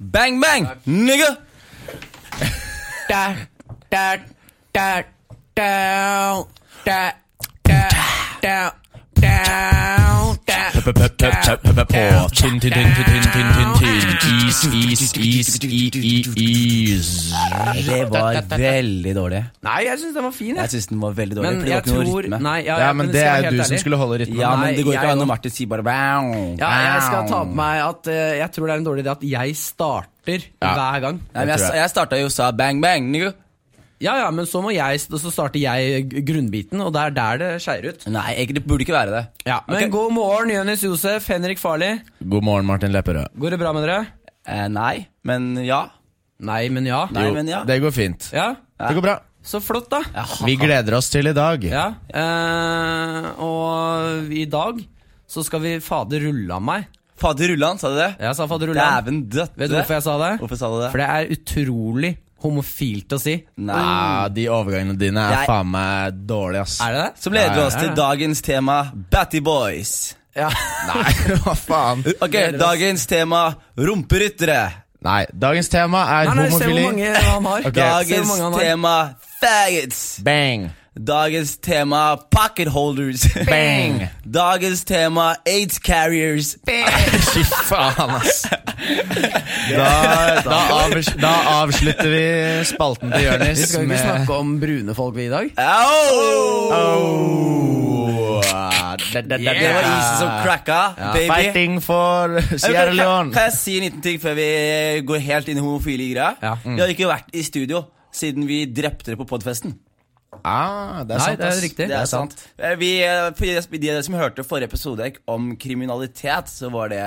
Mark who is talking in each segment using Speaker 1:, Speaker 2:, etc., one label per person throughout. Speaker 1: Bang, bang, nigga!
Speaker 2: Da, da, da, down, da, da, down, down, da,
Speaker 1: På Tinn, tinn, tinn, tinn, tinn, tinn, tinn. Is, is, is, i, i, is.
Speaker 3: Det var veldig dårlig.
Speaker 2: Nei, jeg syns den var fin,
Speaker 3: Jeg
Speaker 2: jeg.
Speaker 3: syns den var veldig dårlig,
Speaker 2: Men
Speaker 3: for det
Speaker 2: jeg
Speaker 3: var ikke noe
Speaker 2: tror
Speaker 3: rytme.
Speaker 2: Nei, ja,
Speaker 4: Ja,
Speaker 2: jeg-
Speaker 4: men
Speaker 2: skal
Speaker 4: det
Speaker 2: være
Speaker 4: er
Speaker 2: helt
Speaker 4: jo du som
Speaker 2: ærlig.
Speaker 4: skulle holde rytmen.
Speaker 3: Ja,
Speaker 2: Nei,
Speaker 3: men det går
Speaker 2: jeg
Speaker 3: ikke an
Speaker 2: òg.
Speaker 3: når Martin sier bare wow.
Speaker 2: Ja, jeg skal ta på meg at eh, jeg tror det er en dårlig idé at jeg starter hver gang.
Speaker 3: Nei, men jeg, jeg starta jo og sa bang, bang, nigga.
Speaker 2: Ja, ja, men så må jeg Så starter jeg g- grunnbiten, og det er der det skeier ut.
Speaker 3: Nei, egentlig burde ikke være det.
Speaker 2: Ja, Men
Speaker 3: Ok.
Speaker 2: god morgen, Jonis Josef, Henrik Farli.
Speaker 4: God morgen, Martin Lepperød.
Speaker 2: Går det bra med dere?
Speaker 3: Eh, nei, men ja.
Speaker 2: Nei, men ja.
Speaker 3: Nei, men ja.
Speaker 4: Det går fint.
Speaker 2: Ja,
Speaker 4: Det går bra.
Speaker 2: Så flott, da. Ja.
Speaker 4: Vi gleder oss til i dag.
Speaker 2: eh, og i dag så skal vi fader rulle av meg.
Speaker 3: Fader Rullan, sa du det?
Speaker 2: Jeg sa fader rulle av.
Speaker 3: Dæven døtte.
Speaker 2: Vet du hvorfor jeg sa det?
Speaker 3: Hvorfor sa du det?
Speaker 2: For det er utrolig homofilt å si.
Speaker 4: Nei, Ah, de overgangene dine er
Speaker 3: Jeg-
Speaker 4: faen meg dårlige, ass.
Speaker 2: Er det det?
Speaker 3: Som leder
Speaker 4: Ja, ja,
Speaker 3: oss til dagens tema, Batty Boys.
Speaker 2: Ja.
Speaker 4: Nei, hva faen?
Speaker 3: Ok, dagens tema, rumperyttere.
Speaker 4: Nei, dagens tema er
Speaker 2: Nei, nei, se hvor
Speaker 4: homofili.
Speaker 2: mange han har.
Speaker 4: Ok.
Speaker 2: Se hvor
Speaker 3: Dagens
Speaker 2: mange han har.
Speaker 3: tema, faggots.
Speaker 4: Bang.
Speaker 3: Dagens tema, pocket holders.
Speaker 4: Bang.
Speaker 3: Dagens tema, aids carriers.
Speaker 4: Fy faen, ass. Da, da, avs da avslutter vi spalten til
Speaker 2: Vi
Speaker 4: Jonis
Speaker 2: skal jo ikke
Speaker 4: med
Speaker 2: snakke om brune folk vi i dag.
Speaker 3: Au!
Speaker 4: oh. da, da, da, da.
Speaker 3: Det var isen som cracka, baby.
Speaker 4: Fighting for
Speaker 3: Ok,
Speaker 4: Sierra
Speaker 3: kan,
Speaker 4: Leone.
Speaker 3: kan jeg si en liten ting før vi går helt inn i homofile greier?
Speaker 2: Ja. Mm.
Speaker 3: Vi har ikke vært i studio siden vi drepte dere på podfesten.
Speaker 4: Ah, det er
Speaker 2: Nei,
Speaker 4: sant,
Speaker 2: det er
Speaker 4: ass.
Speaker 2: riktig.
Speaker 3: Det er sant. Eh, Vi, eh, for de de av dere som hørte forrige episode om kriminalitet, så var det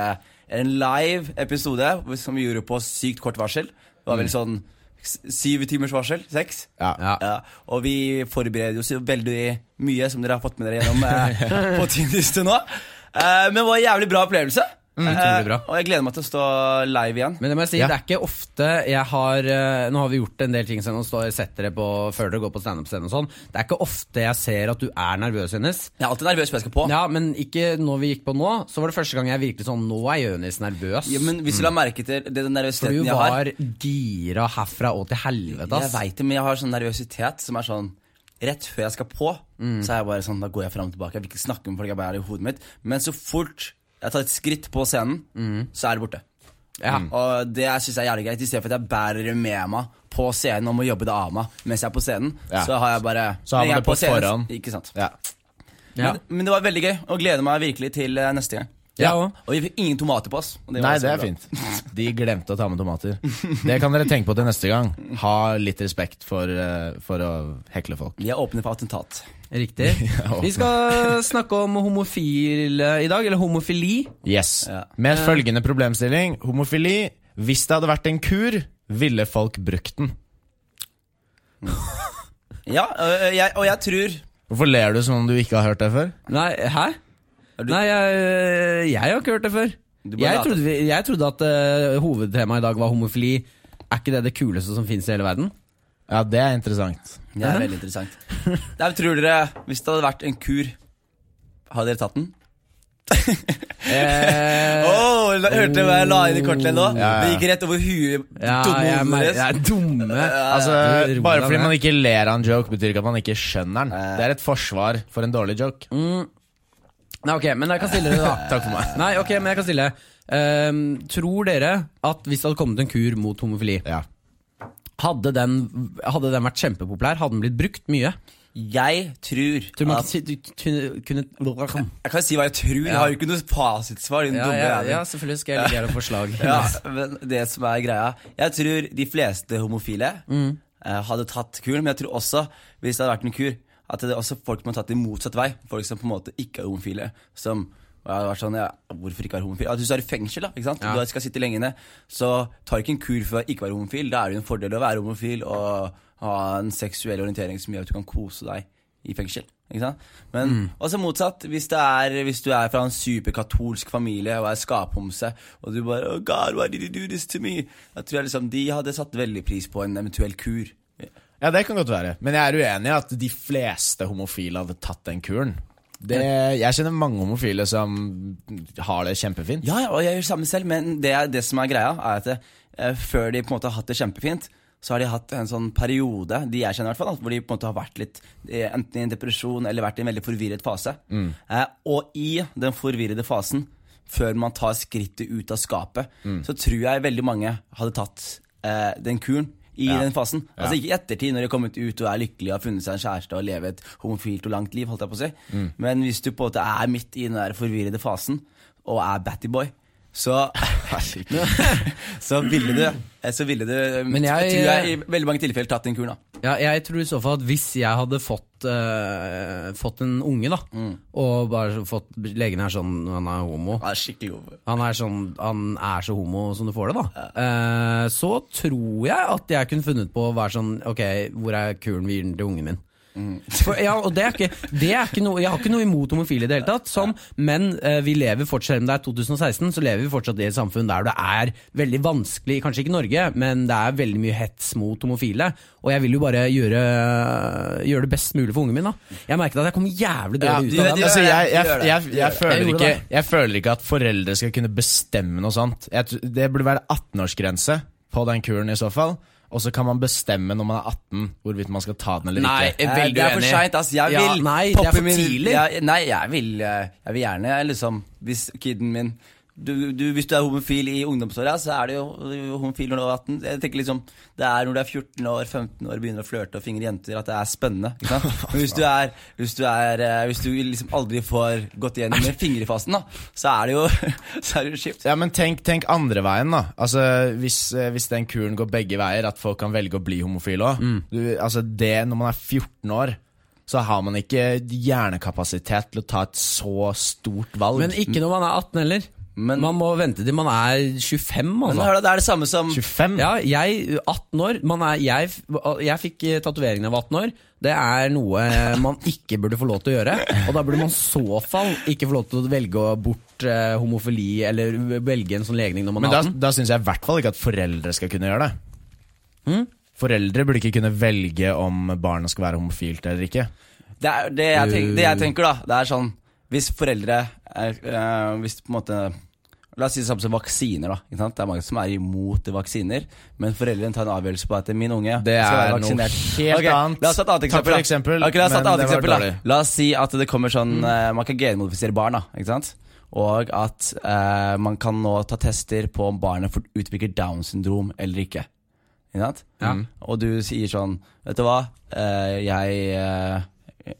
Speaker 3: en live episode som vi gjorde på sykt kort varsel. Det
Speaker 2: Mm.
Speaker 3: var vel sånn s- syv timers varsel? Seks?
Speaker 4: Ja.
Speaker 3: Ja, og vi forbereder oss jo veldig mye, som dere har fått med dere gjennom eh, på Tindis til nå. Eh, men det var en jævlig bra opplevelse.
Speaker 2: Mm, utrolig
Speaker 3: Eh,
Speaker 2: bra.
Speaker 3: og jeg gleder meg til å stå live igjen.
Speaker 2: Men det må jeg si,
Speaker 4: Ja.
Speaker 2: det er ikke ofte jeg har eh, Nå har vi gjort en del ting som står setter det på før dere går på standup-scenen og sånn. Det er ikke ofte jeg ser at du er nervøs, Jonis.
Speaker 3: Jeg er alltid nervøs på jeg skal på.
Speaker 2: Ja, men ikke når vi gikk på nå, så var det første gang jeg virkelig sånn Nå er Jonis nervøs.
Speaker 3: Ja, men hvis du la merke til det, den
Speaker 2: For du
Speaker 3: nervøsiteten jeg har
Speaker 2: var gira herfra og til helvete,
Speaker 3: Jeg
Speaker 2: ass.
Speaker 3: vet det, men jeg har sånn nervøsitet som er sånn Rett før jeg skal på,
Speaker 4: Mm.
Speaker 3: så er jeg bare sånn Da går jeg fram og tilbake. Jeg vil ikke snakke med folk. Jeg bare er i hodet mitt. Men så fort jeg tar et skritt på scenen,
Speaker 4: Mm.
Speaker 3: så er det borte. Mm.
Speaker 2: Ja.
Speaker 3: Og det syns jeg er jævlig greit. I stedet for at jeg bærer det med meg på scenen og må jobbe det av meg mens jeg er på scenen,
Speaker 4: Ja.
Speaker 3: så har jeg bare
Speaker 4: Så har
Speaker 3: Men
Speaker 4: man
Speaker 3: jeg
Speaker 4: det
Speaker 3: er
Speaker 4: på
Speaker 3: scenen,
Speaker 4: forhånd.
Speaker 3: Ikke sant.
Speaker 4: Ja.
Speaker 2: Ja.
Speaker 3: Men, men det var veldig gøy, og gleder meg virkelig til eh, neste gang.
Speaker 2: Ja, og-
Speaker 3: Og vi fikk ingen tomater på oss. og var
Speaker 4: Nei,
Speaker 3: ganske
Speaker 4: det er
Speaker 3: bra.
Speaker 4: fint. De glemte å ta med tomater. Det kan dere tenke på til neste gang. Ha litt respekt for, eh, for å hekle folk.
Speaker 3: Vi er åpne for attentat.
Speaker 2: Riktig.
Speaker 4: Ja.
Speaker 2: Vi skal snakke om homofile i dag, eller homofili.
Speaker 4: Yes.
Speaker 3: Ja. Eh.
Speaker 4: Med følgende problemstilling. Homofili. Hvis det hadde vært en kur, ville folk brukt den.
Speaker 3: Ja, øh, jeg, og jeg tror
Speaker 4: Hvorfor ler du som om du ikke har hørt det før?
Speaker 2: Nei, hæ?
Speaker 3: du-
Speaker 2: Nei, jeg, jeg har ikke hørt det før.
Speaker 3: Du bare
Speaker 2: Jeg
Speaker 3: later.
Speaker 2: trodde, vi, jeg trodde at eh, hovedtemaet i dag var homofili. Er ikke det det kuleste som fins i hele verden?
Speaker 4: Ja, det er interessant.
Speaker 3: Det er veldig interessant. Der tror dere, Hvis det hadde vært en kur, hadde dere tatt den?
Speaker 2: Eh,
Speaker 3: Oh, la- hørte dere hva jeg la inn i kortet nå?
Speaker 4: Ja, ja.
Speaker 3: Det gikk rett over huet.
Speaker 2: ja,
Speaker 3: dumme
Speaker 2: jeg,
Speaker 3: hodet
Speaker 2: mer-
Speaker 3: deres.
Speaker 2: jeg er dumme.
Speaker 4: Altså,
Speaker 2: Du, ro
Speaker 4: Bare
Speaker 2: deg
Speaker 4: fordi
Speaker 2: ned.
Speaker 4: man ikke ler av en joke, betyr ikke at man ikke skjønner den.
Speaker 3: Eh.
Speaker 4: Det er et forsvar for en dårlig joke.
Speaker 3: Mm.
Speaker 2: Nei, ok, men jeg kan stille dere, da.
Speaker 4: Takk for meg.
Speaker 2: Nei, ok, men jeg kan stille. Ehm, tror dere at hvis det hadde kommet en kur mot homofili,
Speaker 4: Ja.
Speaker 2: hadde den, hadde den vært kjempepopulær? Hadde den blitt brukt mye?
Speaker 3: Jeg tror
Speaker 2: Tror du man
Speaker 3: at,
Speaker 2: kunne, kunne, kunne
Speaker 3: Jeg kan si hva jeg tror. Jeg har jo ikke noe fasitsvar. Din
Speaker 2: ja,
Speaker 3: dumme
Speaker 2: ja,
Speaker 3: jævel.
Speaker 2: ja, selvfølgelig skal jeg legge her et forslag.
Speaker 3: Ja, men det som er greia Jeg tror de fleste homofile eh, hadde tatt kuren, men jeg tror også, hvis det hadde vært en kur, at det er også folk som har tatt det motsatt vei. Folk som på en måte ikke er homofile. Som ja, det har vært sånn, ja, hvorfor ikke være homofil? At hvis du er i fengsel, da, ikke sant? du skal sitte lenge inne, så tar du ikke en kur for å ikke være homofil. Da er det jo en fordel å være homofil og ha en seksuell orientering som gjør at du kan kose deg i fengsel. Ikke sant? Men også motsatt, hvis, det er, hvis du er fra en superkatolsk familie og er skaphomse, og du bare oh God, why did you do this to me? Da tror jeg liksom de hadde satt veldig pris på en eventuell kur.
Speaker 4: ja, det kan godt være. Men jeg er uenig i at de fleste homofile hadde tatt den kuren. Det, jeg kjenner mange homofile som har det kjempefint.
Speaker 3: Ja, ja, og jeg gjør det samme selv, men det, er- det som er greia, er at det, eh, før de på en måte har hatt det kjempefint, så har de hatt en sånn periode, de jeg kjenner i hvert fall, da, hvor de på en måte har vært litt eh, enten i en depresjon eller vært i en veldig forvirret fase. Eh, og i den forvirrede fasen, før man tar skrittet ut av skapet, så tror jeg veldig mange hadde tatt eh, den kuren. I den fasen. Altså Ikke i ettertid, når de har kommet ut og er lykkelige og har funnet seg en kjæreste og lever et homofilt og langt liv. holdt jeg på å si Men hvis du på en måte er midt i den der forvirrede fasen og er Battyboy, så så ville du, eh, så ville du
Speaker 2: Men jeg- eh,
Speaker 3: tror jeg i veldig mange tilfeller tatt den kuren. da
Speaker 2: Ja, jeg tror i så fall at hvis jeg hadde fått, eh, fått en unge, da, og bare fått legen er sånn Han er homo.
Speaker 3: Ja, skikkelig god.
Speaker 2: Han er, sånn, han er så homo som du får det, da. Eh, så tror jeg at jeg kunne funnet på å være sånn Ok, hvor er kuren vi gir den til ungen min? For, ja, og det er ikke, det er ikke noe, Jeg har ikke noe imot homofile i det hele tatt, sånn, men eh, vi lever fortsatt, selv om det er 2016, så lever vi fortsatt i et samfunn der det er veldig vanskelig, kanskje ikke i Norge, men det er veldig mye hets mot homofile. Og jeg vil jo bare gjøre, gjøre det best mulig for ungen min. da Jeg merket at jeg kom jævlig
Speaker 3: Ja,
Speaker 2: dårlig
Speaker 3: du-
Speaker 2: ut. av det.
Speaker 3: gjør
Speaker 4: altså,
Speaker 3: det,
Speaker 4: jeg, jeg,
Speaker 3: de gjør det,
Speaker 4: jeg, jeg,
Speaker 3: de gjør det.
Speaker 4: føler
Speaker 2: Jeg gjorde
Speaker 4: ikke,
Speaker 2: det.
Speaker 4: jeg føler ikke at foreldre skal kunne bestemme noe sånt. Jeg, tr- det burde være 18-årsgrense på den kuren i så fall. Og så kan man bestemme når man er 18 hvorvidt man skal ta den eller
Speaker 1: Nei,
Speaker 4: ikke.
Speaker 1: jeg er
Speaker 3: Eh,
Speaker 1: veldig
Speaker 3: det er for
Speaker 1: uenig.
Speaker 3: seint, ass. Jeg
Speaker 2: Ja,
Speaker 3: vil
Speaker 2: nei, det er for
Speaker 3: min-
Speaker 2: tidlig.
Speaker 3: Jeg, nei, jeg vil, eh, jeg vil gjerne, jeg, liksom, hvis kiden min du, du, Hvis du er homofil i ungdomsåra, så er du jo du er homofil når du er 18. Jeg tenker liksom, Det er når du er 14 år, 15 år, begynner å flørte og fingre jenter, at det er spennende. Ikke sant? Men hvis du, er, hvis, du er, eh, hvis du liksom aldri får gått igjennom med fingrefasen, da, så er det jo Så er det jo kjipt.
Speaker 4: Ja, men tenk, tenk andre veien, da. Altså, hvis, eh, hvis den kuren går begge veier, at folk kan velge å bli homofile òg.
Speaker 2: Mm.
Speaker 4: Altså, det når man er 14 år, så har man ikke hjernekapasitet til å ta et så stort valg.
Speaker 2: Men ikke når man er 18 heller.
Speaker 3: Men-
Speaker 2: man må vente til man er 25,
Speaker 3: Men
Speaker 2: altså.
Speaker 3: hør da, det er det samme som
Speaker 4: 25?
Speaker 2: Ja, jeg, 18 år man er, jeg, jeg fikk eh, tatoveringen av 18 år. Det er noe man ikke burde få lov til å gjøre. Og da burde man i så fall ikke få lov til å velge å bort eh, homofili, eller velge en sånn legning når man
Speaker 4: Men
Speaker 2: er
Speaker 4: da,
Speaker 2: 18.
Speaker 4: da syns jeg i hvert fall ikke at foreldre skal kunne gjøre det.
Speaker 2: Mm.
Speaker 4: Foreldre burde ikke kunne velge om barnet skal være homofilt eller ikke.
Speaker 3: Det, er, det, jeg tenk, det jeg tenker, da, det er sånn Hvis foreldre er, eh, Hvis på en måte La oss si det samme som vaksiner. da ikke sant? Det er mange som er imot vaksiner, men foreldrene tar en avgjørelse på at min unge
Speaker 4: Det
Speaker 3: skal
Speaker 4: er
Speaker 3: være
Speaker 4: noe
Speaker 3: vaksinert.
Speaker 4: helt
Speaker 3: Ok,
Speaker 4: annet.
Speaker 3: La oss ta et annet
Speaker 4: Takk
Speaker 3: eksempel.
Speaker 4: for
Speaker 3: da.
Speaker 4: eksempel,
Speaker 3: Ok, la, oss ta et
Speaker 4: men
Speaker 3: annet
Speaker 4: det var
Speaker 3: eksempel da.
Speaker 4: dårlig.
Speaker 3: la oss si at det kommer sånn eh, Man kan genmodifisere barn, da. ikke sant? Og at eh, man kan nå ta tester på om barnet får- utvikler Downs syndrom eller ikke. Ikke sant?
Speaker 2: Mm.
Speaker 3: Og du sier sånn Vet du hva, Eh, jeg eh,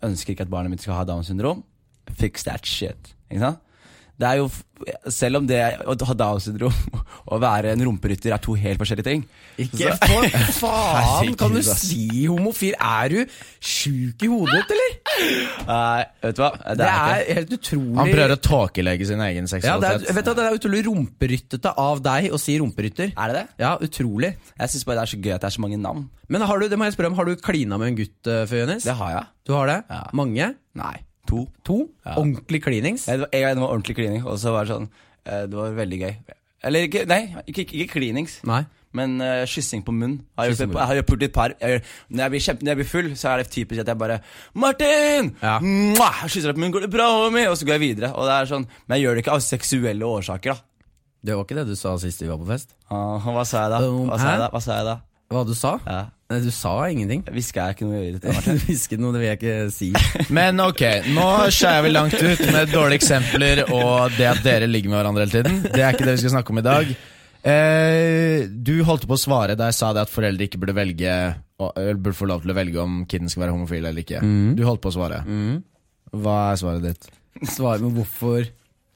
Speaker 3: ønsker ikke at barnet mitt skal ha Downs syndrom. Fix that shit. Ikke sant? Det er jo, f- selv om det å ha Downs syndrom og være en rumperytter er to helt forskjellige ting.
Speaker 2: Ikke for faen! Kan du
Speaker 4: Herregud, ass.
Speaker 2: si homofil? Er du sjuk i hodet ditt, eller?
Speaker 3: Nei, vet du hva?
Speaker 2: Det
Speaker 3: ikke
Speaker 2: er helt utrolig
Speaker 4: Han prøver å tåkelegge sin egen
Speaker 2: ja, det,
Speaker 4: seksualitet.
Speaker 2: er, vet du, hva, det er utrolig rumperyttete av deg å si rumperytter.
Speaker 3: Er det det?
Speaker 2: Ja, utrolig.
Speaker 3: Jeg syns bare det er så gøy at det er så mange navn.
Speaker 2: Men har du, det må jeg spørre om, har du klina med en gutt eh, før, Jonis?
Speaker 3: Det har jeg.
Speaker 2: Du har det?
Speaker 3: Ja.
Speaker 2: Mange?
Speaker 3: Nei. To.
Speaker 2: To? Ordentlig klinings?
Speaker 3: Jeg, en gang det var ordentlig klining, og så var det sånn eh, Det var veldig gøy. Eller ikke, nei, ikke, ikke, ikke klinings.
Speaker 2: Nei.
Speaker 3: Men eh, kyssing på munn. Har jeg,
Speaker 2: Kyssing på
Speaker 3: gjort- jeg har gjort et par jeg, gjør- når, jeg blir kjempe, når jeg blir full, så er det typisk at jeg bare 'Martin!'
Speaker 2: Ja.
Speaker 3: Mwah! Jeg Kysser deg på munnen. 'Går det bra, homie?' Og så går jeg videre. Og det er sånn Men jeg gjør det ikke av seksuelle årsaker, da.
Speaker 2: Det var ikke det du sa sist vi var på fest?
Speaker 3: Ah, hva sa jeg da? Hva sa jeg da? Hva sa jeg da?
Speaker 2: Hva du sa?
Speaker 3: Ja.
Speaker 2: Nei, du sa ingenting.
Speaker 3: Hviska jeg ikke noe i øret? til deg, Martin?
Speaker 2: Du hvisket noe, det vil jeg ikke si.
Speaker 4: Men ok, nå skeier vi langt ut med dårlige eksempler og det at dere ligger med hverandre hele tiden. Det er ikke det vi skal snakke om i dag. Eh, du holdt på å svare da jeg sa det at foreldre ikke burde velge å- eller Burde få lov til å velge om kiden skal være homofil eller ikke.
Speaker 2: Mm.
Speaker 4: Du holdt på å svare. Hva er svaret ditt?
Speaker 2: Svar med hvorfor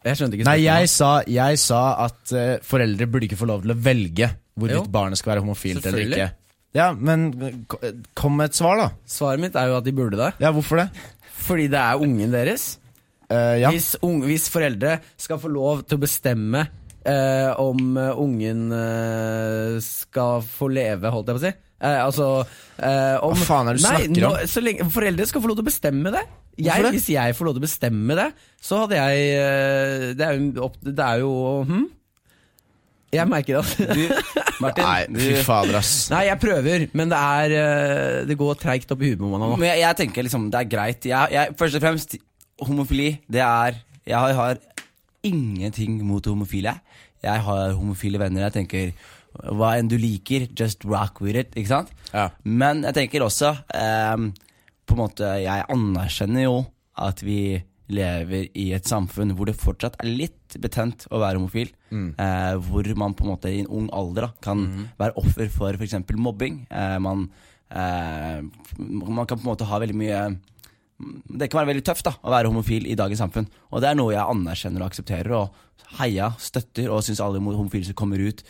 Speaker 2: Jeg skjønte ikke
Speaker 4: Nei, jeg
Speaker 2: spørsmålet.
Speaker 4: sa, jeg sa at eh, foreldre burde ikke få lov til å velge
Speaker 2: Jo.
Speaker 4: hvorvidt barnet skal være homofilt eller
Speaker 2: Selvfølgelig.
Speaker 4: ikke. Ja, men eh, ko- eh, kom med et svar, da.
Speaker 2: Svaret mitt er jo at de burde det.
Speaker 4: Ja, hvorfor det?
Speaker 2: Fordi det er ungen deres.
Speaker 4: Eh, ja.
Speaker 2: Hvis, unge, hvis foreldre skal få lov til å bestemme eh, om eh, ungen eh, skal få leve, holdt jeg på å si. Eh, altså eh, om,
Speaker 4: Hva faen er det du
Speaker 2: Nei,
Speaker 4: snakker om?
Speaker 2: nå- så lenge, foreldre skal få lov til å bestemme det. Jeg,
Speaker 4: Hvorfor det?
Speaker 2: Hvis jeg får lov til å bestemme det, så hadde jeg eh, Det er jo, opp, det er jo hm? Jeg merker at
Speaker 3: Du, Martin,
Speaker 4: Nei, fy
Speaker 3: du,
Speaker 4: fader, ass.
Speaker 2: Nei, jeg prøver, men det er eh, Det går treigt opp i huet på meg nå.
Speaker 3: Men jeg, jeg tenker liksom det er greit. Jeg, jeg, først og fremst, homofili, det er Jeg har, har ingenting mot homofile. Jeg har homofile venner. Jeg tenker hva enn du liker, just rock with it. Ikke sant?
Speaker 4: Ja.
Speaker 3: Men jeg tenker også ehm, På en måte, jeg anerkjenner jo at vi lever i et samfunn hvor det fortsatt er litt betent å være homofil. Eh, hvor man på en måte i en ung alder da, kan være offer for f.eks. mobbing. Eh, man, eh, man kan på en måte ha veldig mye det kan være veldig tøft da, å være homofil i dagens samfunn. Og det er noe jeg anerkjenner og aksepterer, og heia, støtter, og syns alle homo- homofile som kommer ut,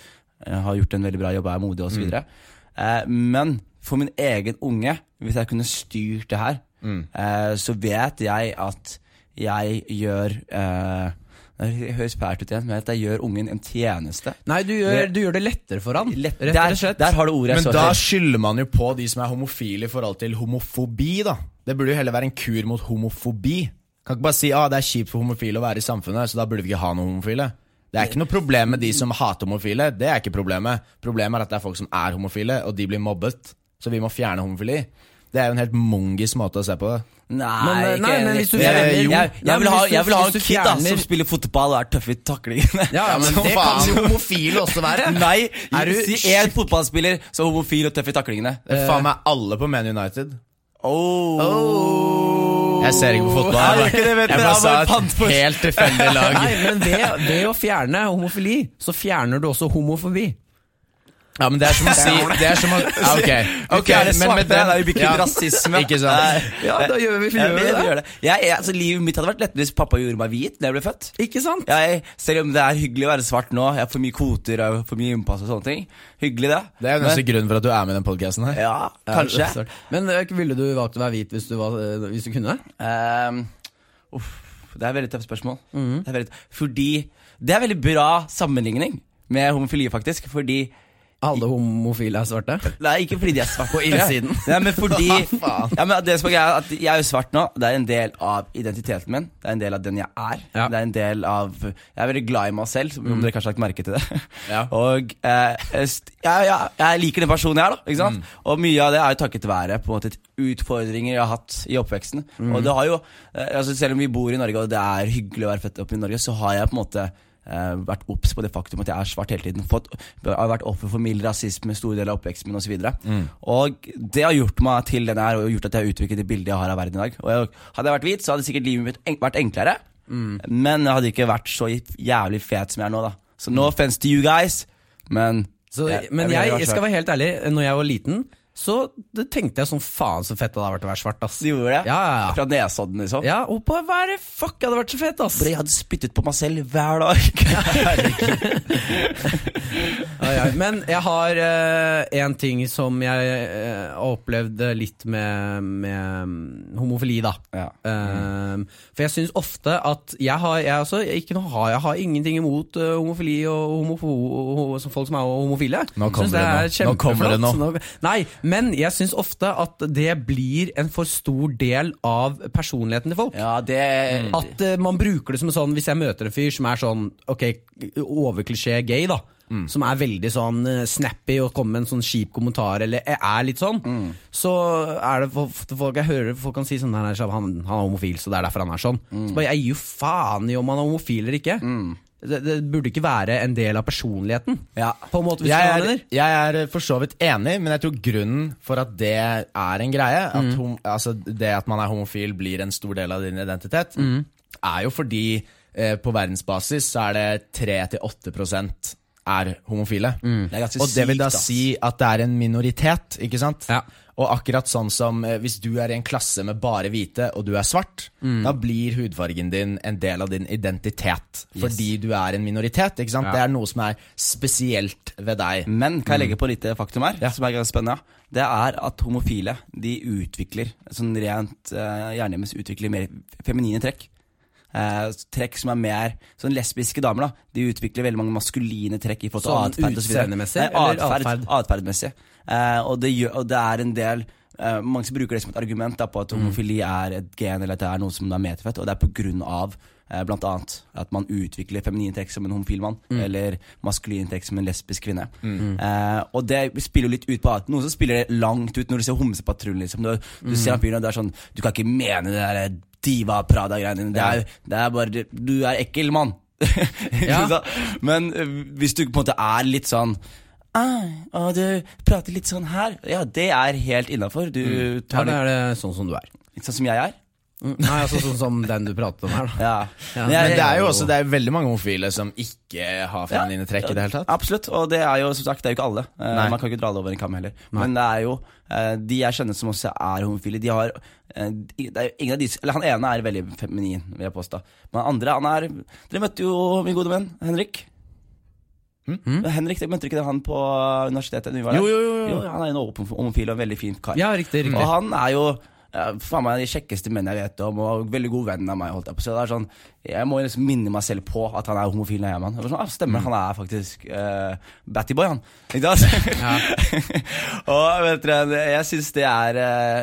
Speaker 3: eh, har gjort en veldig bra jobb, er modige
Speaker 2: Mm.
Speaker 3: osv. videre Eh, men for min egen unge, hvis jeg kunne styrt det her,
Speaker 2: Mm.
Speaker 3: eh, så vet jeg at jeg gjør eh, Det høres fælt ut igjen, men at jeg gjør ungen en tjeneste.
Speaker 2: Nei, du gjør, du gjør det lettere for han.
Speaker 3: Lett,
Speaker 2: rett og
Speaker 3: der,
Speaker 2: slett.
Speaker 3: der har du ordet jeg
Speaker 4: Men
Speaker 3: så
Speaker 4: da
Speaker 3: etter.
Speaker 4: skylder man jo på de som er homofile i forhold til homofobi, da. Det burde jo heller være en kur mot homofobi. Kan ikke bare si ah, det er kjipt for homofile å være i samfunnet, så da burde vi ikke ha noen homofile. Det er ikke noe problem med de som hater homofile. Det er ikke problemet. Problemet er at det er folk som er homofile, og de blir mobbet. Så vi må fjerne homofili. Det er jo en helt mongis måte å se på det.
Speaker 3: Nei,
Speaker 2: Men, eh,
Speaker 3: ikke
Speaker 2: nei, men
Speaker 3: enig.
Speaker 2: hvis du
Speaker 3: jeg,
Speaker 2: fjerner-
Speaker 3: jeg, jeg,
Speaker 2: Nei, men
Speaker 3: vil ha,
Speaker 2: hvis du-
Speaker 3: jeg vil ha
Speaker 2: hvis
Speaker 3: en
Speaker 2: du
Speaker 3: kid da,
Speaker 2: fjerner-
Speaker 3: som spiller fotball og er tøff i taklingene.
Speaker 2: Ja, ja, men
Speaker 4: Som
Speaker 2: det
Speaker 4: faen.
Speaker 2: kan jo homofile også være.
Speaker 3: Nei,
Speaker 2: Er du-
Speaker 3: si én fotballspiller som er homofil og tøff i taklingene.
Speaker 4: Det er faen meg alle på Man United.
Speaker 3: Oh.
Speaker 2: Oh.
Speaker 4: Jeg ser ikke på fotball.
Speaker 3: Nei,
Speaker 4: Jeg
Speaker 3: det er ikke det,
Speaker 4: bare,
Speaker 3: vet
Speaker 4: jeg
Speaker 3: dere,
Speaker 4: bare
Speaker 3: han var
Speaker 4: sa
Speaker 3: pant
Speaker 4: et
Speaker 3: for-
Speaker 4: helt tilfeldig lag.
Speaker 2: Nei, men ved, ved å fjerne homofili, så fjerner du også homofobi.
Speaker 4: Ja, men det er som å si Det er som å ja, Ok, ok,
Speaker 3: fjerne
Speaker 4: men
Speaker 3: svarte,
Speaker 4: med
Speaker 3: da er
Speaker 4: den
Speaker 3: vi ikke rasisme.
Speaker 4: Ikke sant?
Speaker 3: Nei.
Speaker 2: Ja, da gjør vi,
Speaker 3: Jeg vil gjøre det. Jeg, jeg, altså, livet mitt hadde vært lettere hvis pappa gjorde meg hvit da jeg ble født.
Speaker 2: Ikke sant?
Speaker 3: Jeg, selv om det er hyggelig å være svart nå, jeg har for mye kvoter og for mye innpass og sånne ting. Hyggelig, det.
Speaker 4: Det er jo nesten grunnen for at du er med i den podcasten her.
Speaker 3: Ja, kanskje.
Speaker 2: Ja, Men eh, ville du valgt å være hvit hvis du, var, eh, hvis du kunne?
Speaker 3: Ehm, uff, det er et veldig tøft spørsmål. det er veldig, fordi Det er veldig bra sammenligning med homofili, faktisk. Fordi
Speaker 2: Alle homofile er svarte?
Speaker 3: Nei, ikke fordi de er svarte. På
Speaker 2: innsiden.
Speaker 3: Nei, men fordi ja, men det som er greia er at Jeg er jo svart nå. Det er en del av identiteten min. Det er en del av den jeg er.
Speaker 2: Ja.
Speaker 3: Det er en del av Jeg er veldig glad i meg selv, som om dere kanskje har lagt merke til det.
Speaker 4: Ja.
Speaker 3: Og eh, st- ja, ja, jeg liker den personen jeg er, da. Ikke sant? Og mye av det er jo takket være på en måte utfordringer jeg har hatt i oppveksten. Og det har jo eh, altså Selv om vi bor i Norge, og det er hyggelig å være født opp i Norge, så har jeg på en måte eh, vært obs på det faktum at jeg er svart hele tiden. Fått, har vært offer for mild rasisme store deler av oppveksten min osv. Mm. Og det har gjort meg til den jeg er, og gjort at jeg har utviklet det bildet jeg har av verden i dag. Og jeg, Hadde jeg vært hvit, så hadde sikkert livet mitt en vært enklere.
Speaker 2: Mm.
Speaker 3: Men jeg hadde ikke vært så jævlig fet som jeg er nå, da. Så no offense to you guys, men
Speaker 2: Så,
Speaker 3: jeg- jeg
Speaker 2: men
Speaker 3: vil
Speaker 2: jeg,
Speaker 3: heller være
Speaker 2: skal
Speaker 3: svart.
Speaker 2: være helt ærlig, når jeg var liten, så det tenkte jeg sånn faen så fett det hadde vært å være svart, ass.
Speaker 3: Du gjorde det?
Speaker 2: Ja, ja, ja.
Speaker 3: Fra Nesodden, liksom?
Speaker 2: Ja, og på å være fuck, jeg hadde vært så fett, ass.
Speaker 3: Bro, jeg hadde spyttet på meg selv hver dag.
Speaker 2: Ja, ja. Men jeg har eh, en ting som jeg eh, har opplevd litt med, med mm, homofili, da.
Speaker 3: Ja.
Speaker 2: Eh, for jeg syns ofte at jeg har, jeg, også, jeg, ikke noe, har- jeg har ingenting imot eh, homofili og homofo, og, og- som folk som er homofile.
Speaker 4: Nå kommer
Speaker 2: Synes det er
Speaker 4: det nå. Nå kommer det
Speaker 2: kjempeflott.
Speaker 4: nå.
Speaker 2: Nei, men jeg syns ofte at det blir en for stor del av personligheten til folk.
Speaker 3: ja, det
Speaker 2: At eh, man bruker det som en sånn Hvis jeg møter en fyr som er sånn Ok, overklisjé gay da
Speaker 4: Mm.
Speaker 2: Som er veldig sånn eh, snappy Og kommer med en sånn kjip kommentar Eller er- er litt sånn
Speaker 4: Mm.
Speaker 2: Så er det ofte folk Jeg hører folk kan si sånn "Nei, nei, han, han er homofil så det er derfor han er sånn
Speaker 4: Mm.
Speaker 2: Så bare jeg gir jo faen i om han er homofil eller ikke det, det burde ikke være en del av personligheten
Speaker 3: Ja.
Speaker 2: På en måte hvis
Speaker 4: Jeg
Speaker 2: du
Speaker 4: er,
Speaker 2: mener
Speaker 4: jeg er for så vidt enig, men jeg tror grunnen for at det er en greie, at
Speaker 3: Mm.
Speaker 4: hom, altså det at man er homofil blir en stor del av din identitet,
Speaker 3: Mm.
Speaker 4: er jo fordi eh, på verdensbasis så er det 3-8 er homofile.
Speaker 3: Mm. Det er ganske
Speaker 4: Og det vil da
Speaker 3: sykt, ass.
Speaker 4: si at det er en minoritet, ikke sant?
Speaker 2: Ja.
Speaker 4: Og akkurat sånn som eh, hvis du er i en klasse med bare hvite, og du er svart, da blir hudfargen din en del av din identitet. Fordi du er en minoritet, ikke sant? Det er noe som er spesielt ved deg.
Speaker 3: Men kan jeg
Speaker 2: Mm.
Speaker 3: legge på et lite faktum her, som er ganske spennende? Det er at homofile de utvikler sånn rent uh, hjernen deres utvikler mer feminine trekk. Eh, trekk som er mer Sånn lesbiske damer, da. De utvikler veldig mange maskuline trekk. I forhold til
Speaker 2: Sånn
Speaker 3: atferd og så videre.
Speaker 2: utseendemessig,
Speaker 3: Nei,
Speaker 2: eller
Speaker 3: atferd-
Speaker 2: atferd?
Speaker 3: atferdmessig. Eh, og, det gjør, og det er en del eh, Mange som bruker det som et argument da, på at homofili er et gen eller at det er noe som er medfødt, og det er på grunn av eh, blant annet at man utvikler feminine trekk som en homofil mann, eller maskuline trekk som en lesbisk kvinne. Eh, og det spiller jo litt ut på at noen som spiller det langt ut når du ser Homsepatruljen, liksom. Du, du ser han fyren, og det er sånn Du kan ikke mene det der diva-prada-greiene dine. Det, er- det er bare Du er ekkel, mann.
Speaker 2: Ja.
Speaker 3: Men eh, hvis du på en måte er litt sånn ah, og du prater litt sånn her. Ja, det er helt innafor. Du
Speaker 2: Ja,
Speaker 4: Mm.
Speaker 3: tar
Speaker 2: da
Speaker 3: det
Speaker 2: er det sånn som du er.
Speaker 3: litt sånn som jeg er.
Speaker 2: Mm, Nei, altså sånn som den du pratet om her, da.
Speaker 3: Ja. Men
Speaker 4: Men
Speaker 3: jeg-
Speaker 4: det er jo også det er veldig mange homofile som ikke har feminine trekk i det hele tatt.
Speaker 3: Absolutt, og det er jo som sagt, det er jo ikke alle. Eh, man kan ikke dra alle over en kam heller. Men det er jo eh, de jeg kjenner som også er homofile, de har eh, de, det er jo ingen av de, eller Han ene er veldig feminin, vil jeg påstå. Men han andre han er Dere møtte jo min gode venn Henrik.
Speaker 2: Mm.
Speaker 3: Henrik, dere Møtte dere ikke han på universitetet? når vi var der?
Speaker 4: Mm. Jo, jo, jo, jo.
Speaker 3: Han er jo en åpen homofil og en veldig fin kar.
Speaker 2: Ja, riktig, riktig.
Speaker 3: Og han er jo eh, faen meg de kjekkeste mennene jeg vet om, og veldig god venn av meg. Holdt jeg på. Så det er sånn, jeg må liksom minne meg selv på at han er homofil. når jeg er med han. Jeg var Sånn, ah, stemmer, han er faktisk eh, Battyboy, han. Ikke sant? og vet dere, jeg syns det er eh,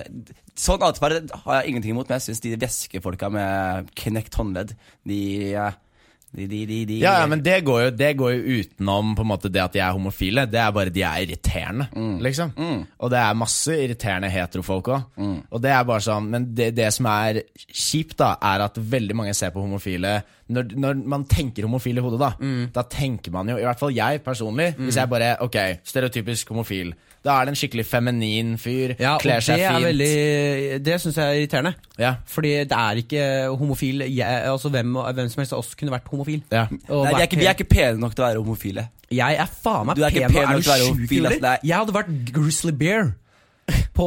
Speaker 3: Sånn atferd har jeg ingenting imot, men jeg syns de væskefolka med knekt håndledd, de eh, de, de, de, de,
Speaker 4: Ja, ja, men det går, jo, det går jo utenom på en måte det at de er homofile. Det er bare de er irriterende, liksom. Og det er masse irriterende heterofolk òg. Og det er bare sånn Men det, det som er kjipt, da, er at veldig mange ser på homofile Når, når man tenker homofil i hodet, da, da tenker man jo I hvert fall jeg personlig. Hvis jeg bare Ok, stereotypisk homofil. Da er det en skikkelig feminin fyr.
Speaker 2: Ja, og det
Speaker 4: kler seg
Speaker 2: er
Speaker 4: fint.
Speaker 2: veldig Det syns jeg er irriterende.
Speaker 4: Ja.
Speaker 2: Fordi det er ikke homofil jeg, Altså hvem, hvem som helst av oss kunne vært homofil.
Speaker 4: Ja.
Speaker 2: Og
Speaker 3: Nei, de, er
Speaker 2: vært
Speaker 3: ikke, de er ikke pene nok til å være homofile.
Speaker 2: Jeg er faen meg
Speaker 3: Du er ikke pen nok til å være
Speaker 2: sjuk i
Speaker 3: homofil, ass.
Speaker 2: hodet?
Speaker 3: Nei.
Speaker 2: Jeg hadde vært Grizzly Bear. På,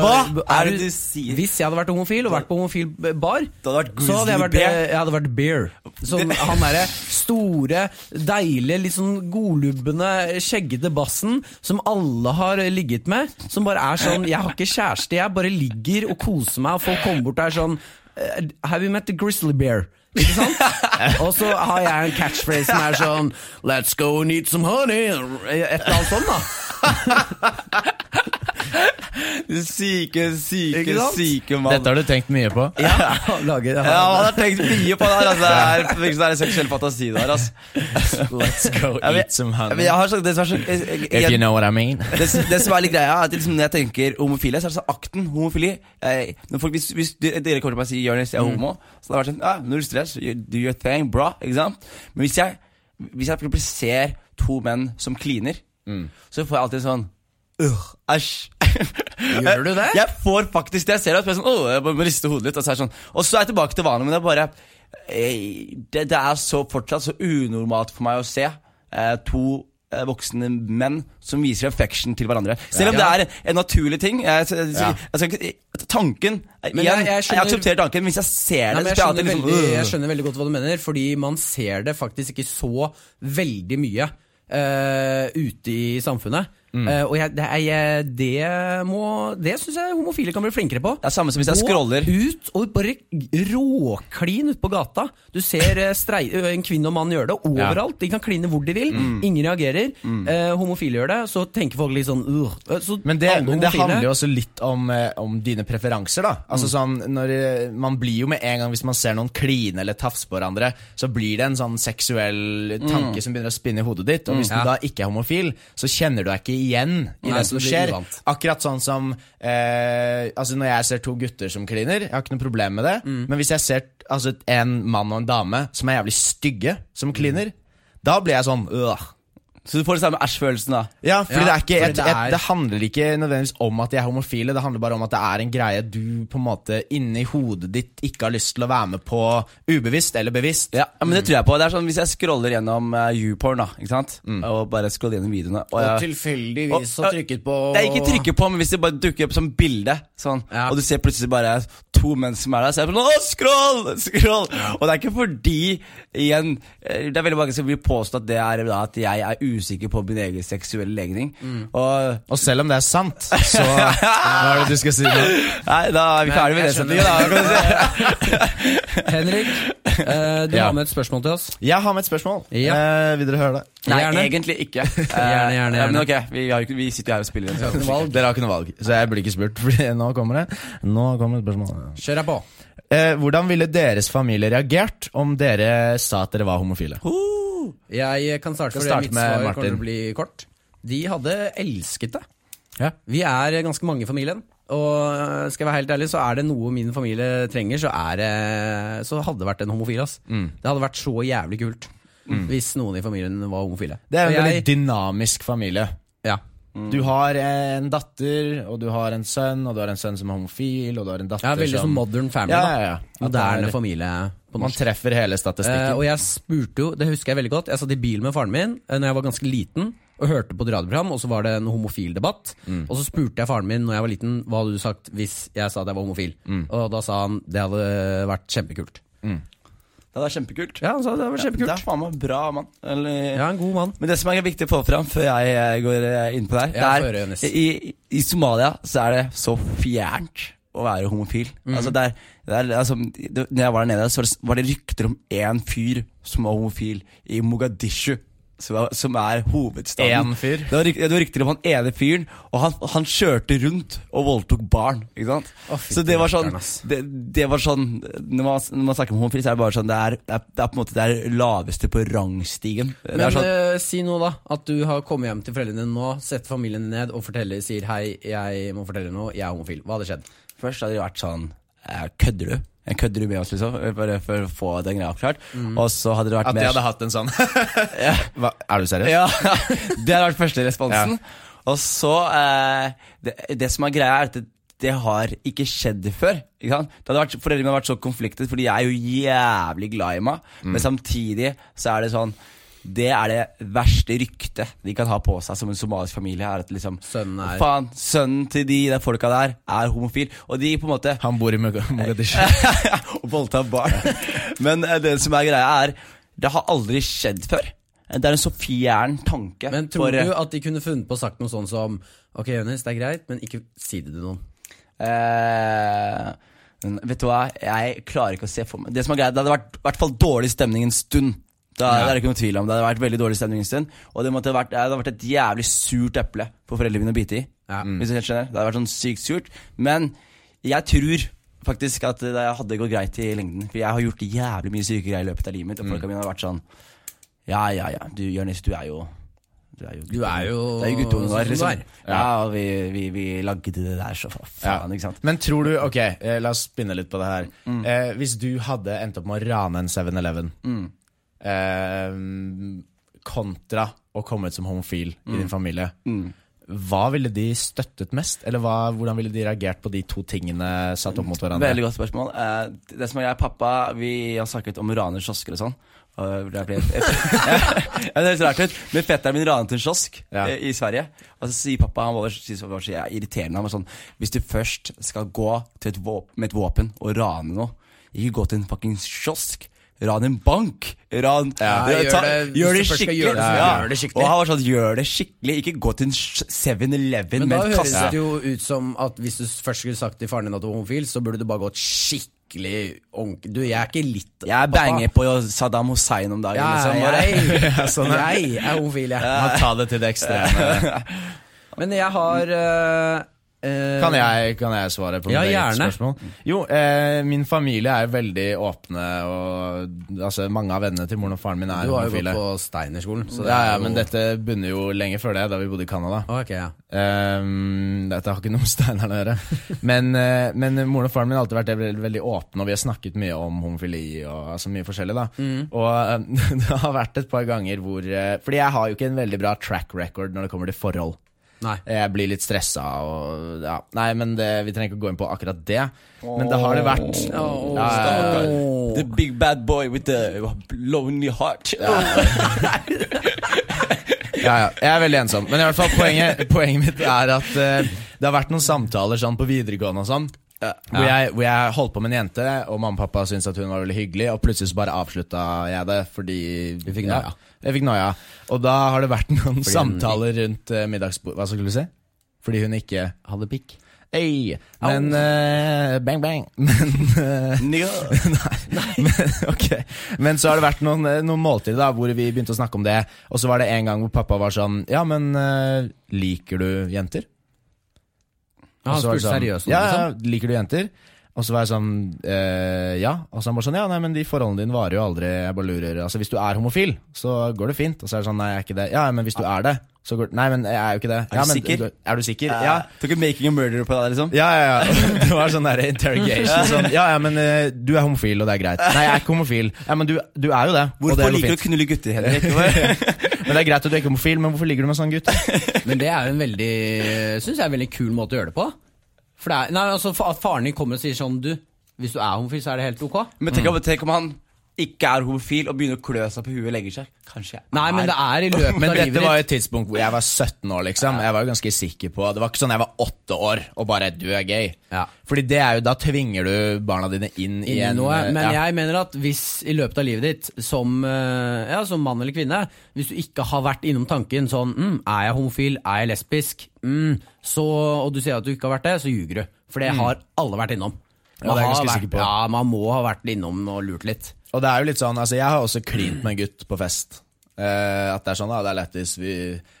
Speaker 3: Hva er det du sier?
Speaker 2: Hvis jeg hadde vært homofil og vært på homofil bar,
Speaker 3: hadde vært
Speaker 2: så hadde
Speaker 3: Grizzly
Speaker 2: jeg vært,
Speaker 3: Bear.
Speaker 2: jeg hadde vært Bear. Sånn, han derre store, deilige, litt sånn godlubbende, skjeggete bassen som alle har ligget med. Som bare er sånn Jeg har ikke kjæreste, jeg bare ligger og koser meg, og folk kommer bort og er sånn eh, Have you met the Grizzly Bear? Ikke sant? Og så har jeg en catchphrase som er sånn Let's go and eat some honey. Et eller annet sånt, da.
Speaker 3: Du syke, syke,
Speaker 2: Ikke sant?
Speaker 3: syke mann.
Speaker 4: Dette har du tenkt mye på.
Speaker 2: Ja, lager,
Speaker 3: Ja, man har tenkt mye på det her. Altså. Det er liksom det er en seksuell fantasi der. Altså.
Speaker 4: Let's go
Speaker 3: Ja, men-
Speaker 4: eat
Speaker 3: Ja,
Speaker 4: some
Speaker 3: men
Speaker 4: honey.
Speaker 3: jeg har sagt, det, som er så, jeg, jeg,
Speaker 4: If you know what I mean.
Speaker 3: det, som- det som er litt greia, er at liksom, når jeg tenker homofile, så er det sånn akten homofili. Eh, når folk, hvis, hvis du- dere kommer til meg og sier 'Jonis, jeg er homo', så det har vært sånn ah, 'Null stress, you, do your thing, bra'. Ikke sant? Men hvis jeg, hvis jeg for eksempel ser to menn som kliner, så får jeg alltid sånn «Ugh, Æsj.
Speaker 2: Gjør du det?
Speaker 3: Jeg får faktisk det. Jeg ser det, og så blir jeg sånn, «Åh», jeg bare rister hodet litt. Og så er, jeg sånn. og så er jeg tilbake til vanlig, men det er bare eh, det, det er så fortsatt så unormalt for meg å se eh, to eh, voksne menn som viser affection til hverandre. Selv om det er en naturlig ting. Jeg, jeg, jeg, jeg, skal ikke- tanken eh, igjen,
Speaker 2: Men
Speaker 3: jeg,
Speaker 2: jeg- jeg skjønner-
Speaker 3: aksepterer tanken, men hvis jeg ser
Speaker 2: Nei,
Speaker 3: det, så blir jeg
Speaker 2: men jeg, skjønner
Speaker 3: alltid liksom
Speaker 2: veldig, jeg
Speaker 3: «Åh».
Speaker 2: skjønner veldig godt hva du mener, fordi man ser det faktisk ikke så veldig mye eh, ute i samfunnet. Eh, og jeg, det, er, jeg, det, må, det syns jeg homofile kan bli flinkere på.
Speaker 3: Det er samme som hvis jeg scroller.
Speaker 2: Gå ut og bare råklin ut på gata. Du ser eh, strei, ø, en kvinne og mann gjøre det overalt. De kan kline hvor de vil. Ingen reagerer. Eh, homofile gjør det, så tenker folk litt sånn uh. Så
Speaker 4: Men det,
Speaker 2: alle
Speaker 4: men det
Speaker 2: homofile- Mm.
Speaker 4: handler jo også litt om, eh, om dine preferanser, da. Altså sånn, når, eh, man blir jo med en gang, hvis man ser noen kline eller tafse på hverandre, så blir det en sånn seksuell
Speaker 2: Mm.
Speaker 4: tanke som begynner å spinne i hodet ditt. Og hvis du da ikke er homofil, så kjenner du deg ikke igjen i
Speaker 2: Nei,
Speaker 4: det som
Speaker 2: det blir
Speaker 4: skjer.
Speaker 2: uvant.
Speaker 4: Akkurat sånn som eh, Altså Når jeg ser to gutter som kliner, jeg har ikke noe problem med det.
Speaker 2: Mm.
Speaker 4: Men hvis jeg ser altså, en mann og en dame som er jævlig stygge, som
Speaker 2: Mm.
Speaker 4: kliner, da blir jeg sånn øh.
Speaker 3: Så du får den samme æsj-følelsen, da.
Speaker 4: Ja, fordi
Speaker 2: Ja,
Speaker 4: det, er ikke,
Speaker 2: fordi
Speaker 4: et,
Speaker 2: det
Speaker 4: et,
Speaker 2: er-
Speaker 4: det handler ikke nødvendigvis om at de er homofile, det handler bare om at det er en greie du på en måte inni hodet ditt ikke har lyst til å være med på ubevisst eller bevisst.
Speaker 3: Ja, men det tror jeg på. Det er sånn Hvis jeg scroller gjennom eh, YouPorn, da, ikke sant?
Speaker 2: Mm.
Speaker 3: og bare scroller gjennom videoene Og, jeg-
Speaker 4: tilfeldigvis
Speaker 3: Og- Det er ikke trykket på, men hvis det bare dukker opp som bilde, sånn,
Speaker 2: Ja.
Speaker 3: og du ser plutselig bare to menn som er der, så er det sånn Å, scroll! Scroll! Og det er ikke fordi, igjen eh, Det er veldig mange som vil påstå at det er da at jeg er usikker på min egen seksuelle legning.
Speaker 2: Mm.
Speaker 3: Og
Speaker 4: Og selv om det er sant, så Hva er det du skal si nå?
Speaker 3: Nei, da er vi ferdige med det
Speaker 2: jeg
Speaker 3: setningen, da. Kan du se.
Speaker 2: Henrik, eh, du
Speaker 4: Ja.
Speaker 2: har med et spørsmål til oss.
Speaker 4: Jeg har med et spørsmål.
Speaker 2: Ja.
Speaker 4: Eh, vil dere høre det?
Speaker 3: Nei,
Speaker 2: Gjerne.
Speaker 3: egentlig ikke. Eh,
Speaker 2: Gjerne, gjerne,
Speaker 3: ja, Men
Speaker 2: gjerne.
Speaker 3: ok, vi, har jo ikke- vi sitter jo her og spiller. en sånn.
Speaker 4: Dere har ikke noe valg, så jeg blir ikke spurt. Fordi nå kommer det. Nå kommer spørsmålet.
Speaker 2: Kjør deg på.
Speaker 4: Eh, hvordan ville deres familie reagert om dere sa at dere var homofile?
Speaker 2: Jeg kan starte,
Speaker 4: Skal
Speaker 2: for
Speaker 4: starte
Speaker 2: mitt
Speaker 4: med
Speaker 2: svar
Speaker 4: Martin.
Speaker 2: kommer til å bli kort. De hadde elsket det.
Speaker 4: Ja.
Speaker 2: Vi er ganske mange i familien. Og øh, skal jeg være helt ærlig, så er det noe min familie trenger, så, er, det- så hadde det vært en homofil. Ass.
Speaker 4: Mm.
Speaker 2: Det hadde vært så jævlig kult hvis noen i familien var homofile.
Speaker 4: Det er
Speaker 2: Og
Speaker 4: en
Speaker 2: jeg- Mm.
Speaker 4: veldig dynamisk familie. Du har eh, en datter, og du har en sønn, og du har en sønn som er homofil, og du har en datter
Speaker 2: Ja, veldig
Speaker 4: som
Speaker 2: sånn modern family.
Speaker 4: Ja,
Speaker 2: da.
Speaker 4: ja, ja. At det
Speaker 2: Moderne
Speaker 4: er-
Speaker 2: familie på
Speaker 4: Man
Speaker 2: norsk.
Speaker 4: treffer hele
Speaker 2: Eh,
Speaker 4: statistikken.
Speaker 2: og jeg spurte jo, det husker jeg veldig godt, jeg satt i bil med faren min uh, Når jeg var ganske liten og hørte på et radioprogram, og så var det en homofil debatt. Og så spurte jeg faren min når jeg var liten, hva hadde du sagt hvis jeg sa at jeg var homofil? Og da sa han det hadde vært kjempekult.
Speaker 3: Det hadde vært kjempekult.
Speaker 2: Ja, han sa det hadde vært
Speaker 3: Det er
Speaker 2: kjempekult.
Speaker 3: faen meg bra, mann. Eller,
Speaker 2: Ja, en god mann.
Speaker 3: Men det som er viktig å få fram før jeg eh, går eh, inn på det
Speaker 2: Ja,
Speaker 3: her,
Speaker 2: få høre,
Speaker 3: det
Speaker 2: Jonis.
Speaker 3: er i, i Somalia så er det så fjernt å være homofil.
Speaker 2: Mhm.
Speaker 3: Altså der, der, altså, det, når jeg var der nede, så var det- var det rykter om én fyr som var homofil i Mogadishu. Som er, som er hovedstaden.
Speaker 4: Én fyr?
Speaker 3: Det var, ryk- det var rykter om han ene fyren, og han, han kjørte rundt og voldtok barn. Ikke sant?
Speaker 2: fy
Speaker 3: så det var sånn
Speaker 2: rakkeren, ass.
Speaker 3: det, det var sånn når man, når man snakker om homofil, så er det bare sånn Det er, det er, det er på en måte det er laveste på rangstigen. Det
Speaker 2: Men
Speaker 3: er sånn,
Speaker 2: eh, si nå, da. At du har kommet hjem til foreldrene dine nå, setter familien ned og forteller, sier 'hei, jeg må fortelle noe, jeg er homofil'. Hva hadde skjedd?
Speaker 3: Først hadde det vært sånn eh, Kødder du? Eh, Kødder du med oss, liksom? Bare for å få den greia avklart. Og så hadde det vært
Speaker 4: At
Speaker 3: mer
Speaker 4: jeg hadde hatt en sånn Hva, Er du seriøs?
Speaker 3: Ja, sånn- Det hadde vært første responsen. Og så eh, det, det som er greia, er at det, det har ikke skjedd før. Ikke sant? Det hadde vært, foreldrene mine har vært så konfliktet, for de er jo jævlig glad i meg. Men samtidig så er det sånn det er det verste ryktet de kan ha på seg som en somalisk familie. Er at liksom
Speaker 2: Sønnen er-
Speaker 3: Faen, sønnen til de der folka der er homofil. Og de på en måte
Speaker 4: Han bor i Mog-
Speaker 2: Eh,
Speaker 4: Mogadishu.
Speaker 3: og voldta barn. Men eh, det som er greia, er det har aldri skjedd før. Det er en så fjern tanke.
Speaker 2: Men tror
Speaker 3: for, eh,
Speaker 2: du at de kunne funnet på å sagt noe sånn som 'ok, Jonis, det er greit, men ikke si det til noen'?
Speaker 3: Eh, men vet du hva, jeg klarer ikke å se for meg Det som er greit, det hadde vært i hvert fall dårlig stemning en stund. Da, Det er det ikke noe tvil om. Det hadde vært veldig dårlig stemning en stund. Og det, måtte ha vært, det hadde vært et jævlig surt eple for foreldrene mine å bite i.
Speaker 2: Ja.
Speaker 3: Hvis du helt skjønner. Det hadde vært sånn sykt surt. Men jeg tror faktisk at det hadde gått greit i lengden. For jeg har gjort jævlig mye syke greier i løpet av livet mitt. Og
Speaker 2: Mm.
Speaker 3: folka mine har vært sånn Ja, ja, ja. Du, Jonis, du er jo Du er jo,
Speaker 2: Du er jo
Speaker 3: det er jo guttungen
Speaker 2: sånn
Speaker 3: vår,
Speaker 2: som du
Speaker 3: liksom.
Speaker 2: er.
Speaker 3: Ja, og vi, vi, vi lagde det der, så fa- faen, ikke sant.
Speaker 4: Men tror du Ok, eh, la oss spinne litt på det her.
Speaker 2: Mm.
Speaker 4: Eh, hvis du hadde endt opp med å rane en 7-Eleven,
Speaker 2: Mm.
Speaker 4: eh, kontra å komme ut som homofil
Speaker 2: Mm.
Speaker 4: i din familie, hva ville de støttet mest? Eller hva, hvordan ville de reagert på de to tingene satt opp mot hverandre?
Speaker 3: Veldig godt spørsmål. Eh, det som er jeg og pappa, vi har snakket om å rane kiosker og sånn. Og det ble et, ja, det høres rart ut, men fetteren min ranet en kiosk
Speaker 4: Ja.
Speaker 3: eh, i Sverige. Og så sier pappa, han var, synes han var så jæ- irriterende, han var sånn Hvis du først skal gå til et våp, med et våpen og rane noe, ikke gå til en fuckings kiosk. Ran en bank! Ran
Speaker 2: Ja, gjør det-
Speaker 3: gjør det
Speaker 2: hvis du først skal
Speaker 3: skikkelig!
Speaker 2: gjøre det, så
Speaker 3: Ja.
Speaker 2: gjør det skikkelig.
Speaker 3: Og han var sånn, gjør det skikkelig! Ikke gå til en 7-Eleven
Speaker 2: Men
Speaker 3: med
Speaker 2: da
Speaker 3: en
Speaker 2: høres
Speaker 3: kasse.
Speaker 2: det jo ut som at hvis du først skulle sagt til faren din at du var homofil, så burde du bare gått skikkelig ordentlig Du, jeg er ikke litt
Speaker 3: Jeg
Speaker 2: pappa.
Speaker 3: banger på Saddam Hussein om dagen.
Speaker 2: Ja,
Speaker 3: liksom, bare.
Speaker 2: jeg,
Speaker 4: Ja, sånn er-
Speaker 2: jeg er homofil, jeg.
Speaker 4: Man tar det til det ekstreme.
Speaker 2: Men jeg har eh, eh,
Speaker 4: Kan jeg, kan jeg svare på mitt
Speaker 2: Ja,
Speaker 4: eget
Speaker 2: gjerne.
Speaker 4: spørsmål? Jo, eh, min familie er veldig åpne, og altså, mange av vennene til moren og faren min er
Speaker 2: Du har jo
Speaker 4: homofile.
Speaker 2: gått på Steinerskolen. så det
Speaker 4: Ja,
Speaker 2: er
Speaker 4: ja,
Speaker 2: jo-
Speaker 4: men dette bunner jo lenge før det, da vi bodde i Canada.
Speaker 2: Ok, ja.
Speaker 4: Ehm, dette har ikke noe med Steineren å gjøre. Men, eh, men moren og faren min har alltid vært veldig, veldig åpne, og vi har snakket mye om homofili og altså, mye forskjellig. da
Speaker 2: Mm.
Speaker 4: Og eh, det har vært et par ganger hvor eh, Fordi jeg har jo ikke en veldig bra track record når det kommer til forhold.
Speaker 2: Nei.
Speaker 4: Jeg blir litt stressa og ja. Nei, men det, vi trenger ikke gå inn på akkurat det. Men det har det vært. Ja, ja, ja.
Speaker 3: The big bad boy with the lonely heart.
Speaker 4: ja, ja. Jeg er veldig ensom. Men i hvert fall poenget, poenget mitt er at eh, det har vært noen samtaler sånn på videregående og sånn. Hvor, jeg, hvor jeg holdt på med en jente, og mamma og pappa syntes at hun var veldig hyggelig, og plutselig så bare avslutta jeg det fordi Du
Speaker 2: fikk noia.
Speaker 4: Ja, jeg fikk noia. Og da har det vært noen samtaler rundt uh, middagsbordet Hva skulle du si? Fordi hun ikke
Speaker 2: Hadde pikk.
Speaker 4: Ei, men eh, Bang, bang. Men eh, Ok, Men så har det vært noen, eh, noen måltider da hvor vi begynte å snakke om det. Og så var det en gang hvor pappa var sånn Ja, men eh, liker du jenter?
Speaker 2: Han Ah,
Speaker 4: Og så var det
Speaker 2: spurte
Speaker 4: sånn,
Speaker 2: seriøst om
Speaker 4: ja,
Speaker 2: det,
Speaker 4: ja,
Speaker 2: liksom.
Speaker 4: liker du jenter? Og så var jeg sånn eh, Ja. Og så han bare sånn Ja, nei, men de forholdene dine varer jo aldri. Jeg bare lurer. Altså, hvis du er homofil, så går det fint. Og så er det sånn Nei, jeg er ikke det. Ja, men hvis du er det, Så går, nei, men jeg er jo ikke det.
Speaker 3: du
Speaker 4: ja, men,
Speaker 3: sikker?
Speaker 4: Er du sikker?
Speaker 3: Ja.
Speaker 4: Ja.
Speaker 3: Tok ikke 'making a murderer' på deg, liksom?
Speaker 4: Ja, ja, ja. Det var sånn der interrogation. Sånn, ja, ja, men eh, du er homofil, og det er greit. Nei, jeg er ikke homofil. Ja, men du, du er jo det. og det
Speaker 3: Hvorfor
Speaker 4: går
Speaker 3: liker du
Speaker 4: fint.
Speaker 3: å knulle gutter, Henrik?
Speaker 4: Men det er greit at du er ikke homofil, men hvorfor ligger du med en sånn gutt?
Speaker 2: Men det er jo en veldig synes jeg er en veldig kul måte å gjøre det på. For det er, nei, altså, fa- at faren din kommer og sier sånn Du, hvis du er homofil, så er det helt ok.
Speaker 3: Men tenk om, tenk om han ikke er homofil og begynner å klø seg på huet og legger seg. Kanskje jeg
Speaker 2: Nei, men det er i løpet
Speaker 4: Men
Speaker 2: av livet
Speaker 4: dette
Speaker 2: ditt.
Speaker 4: var jo et tidspunkt hvor jeg var 17 år, liksom. Jeg var jo ganske sikker på Det var ikke sånn jeg var åtte år og bare 'du er gay'.
Speaker 2: Ja.
Speaker 4: Fordi det er jo, da tvinger du barna dine inn i
Speaker 2: Inni
Speaker 4: en
Speaker 2: noe,
Speaker 4: eh,
Speaker 2: men
Speaker 4: ja.
Speaker 2: jeg mener at hvis i løpet av livet ditt, som, eh, ja, som mann eller kvinne, hvis du ikke har vært innom tanken sånn mm, Er jeg homofil? Er jeg lesbisk? Mm, så, og du sier at du ikke har vært det, så ljuger du. For det har alle vært innom.
Speaker 4: Mm. Ja, det er jeg
Speaker 2: har
Speaker 4: ganske
Speaker 2: vært,
Speaker 4: sikker på.
Speaker 2: Ja, man må ha vært innom og lurt litt.
Speaker 4: Og det er jo litt sånn, altså jeg har også klint med en gutt på fest. Eh, at det er sånn, da, det er lættis. Vi,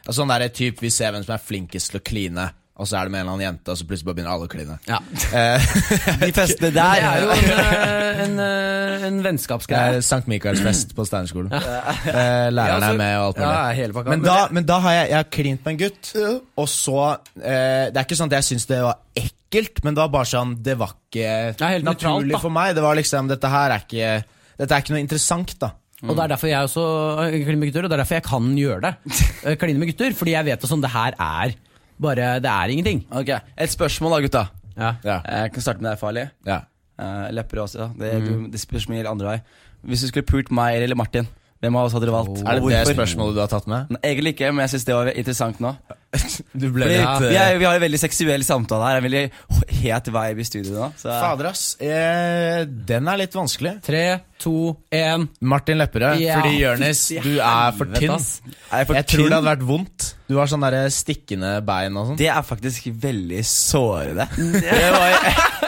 Speaker 4: altså, sånn der typ, vi ser hvem som er flinkest til å kline, og så er det med en eller annen jente, og så plutselig bare begynner alle å kline.
Speaker 2: Ja.
Speaker 3: De festene
Speaker 2: Det
Speaker 3: der
Speaker 2: er jo en, eh, en, eh, en
Speaker 4: Det
Speaker 2: vennskapsgreie.
Speaker 4: er Sankt Mikaels fest på Steinerskolen. Eh,
Speaker 2: Ja,
Speaker 4: læreren
Speaker 2: altså,
Speaker 4: er med og alt mulig.
Speaker 2: ja, hele pakka.
Speaker 4: men,
Speaker 2: Men
Speaker 4: da, men da har jeg, jeg har klint med en gutt, og så eh, Det er ikke sånn at jeg syns det var ekkelt, men det var bare sånn Det var
Speaker 2: er
Speaker 4: ikke
Speaker 2: helt nøytralt, da.
Speaker 4: naturlig for meg. Det var liksom, Dette her er ikke Dette er ikke noe interessant, da.
Speaker 2: Og det er derfor jeg også øh, kliner med gutter, og det er derfor jeg kan gjøre det. Øh, Kline med gutter, fordi jeg vet at sånn, det her er bare Det er ingenting.
Speaker 3: Ok, Et spørsmål da, gutta.
Speaker 2: Ja.
Speaker 4: Ja.
Speaker 3: Jeg kan starte med deg, Farlig.
Speaker 4: Ja.
Speaker 3: Eh, lepper også. ja. Det, du, det spørs mye andre vei. Hvis du skulle pult meg eller Martin, hvem av oss hadde du valgt? Og
Speaker 4: Er det det
Speaker 3: hvorfor?
Speaker 4: spørsmålet du har tatt med?
Speaker 3: Nei, Egentlig ikke, men jeg syns det var interessant nå.
Speaker 4: Du ble
Speaker 3: Vi,
Speaker 4: litt,
Speaker 3: vi,
Speaker 4: eh,
Speaker 3: er, vi har en veldig seksuell samtale her. En veldig het vibe i studio nå. Så
Speaker 4: Fader, ass. Eh, den er litt vanskelig.
Speaker 2: Tre, to, én.
Speaker 4: Martin Lepperød,
Speaker 2: Ja.
Speaker 4: fordi Jonis, du er for
Speaker 2: Helvete,
Speaker 4: tynn.
Speaker 2: ass.
Speaker 3: er jeg for
Speaker 4: Jeg tror det
Speaker 3: tynn?
Speaker 4: hadde vært vondt. Du har sånne der stikkende bein og sånn.
Speaker 3: Det er faktisk veldig sårende. Det var,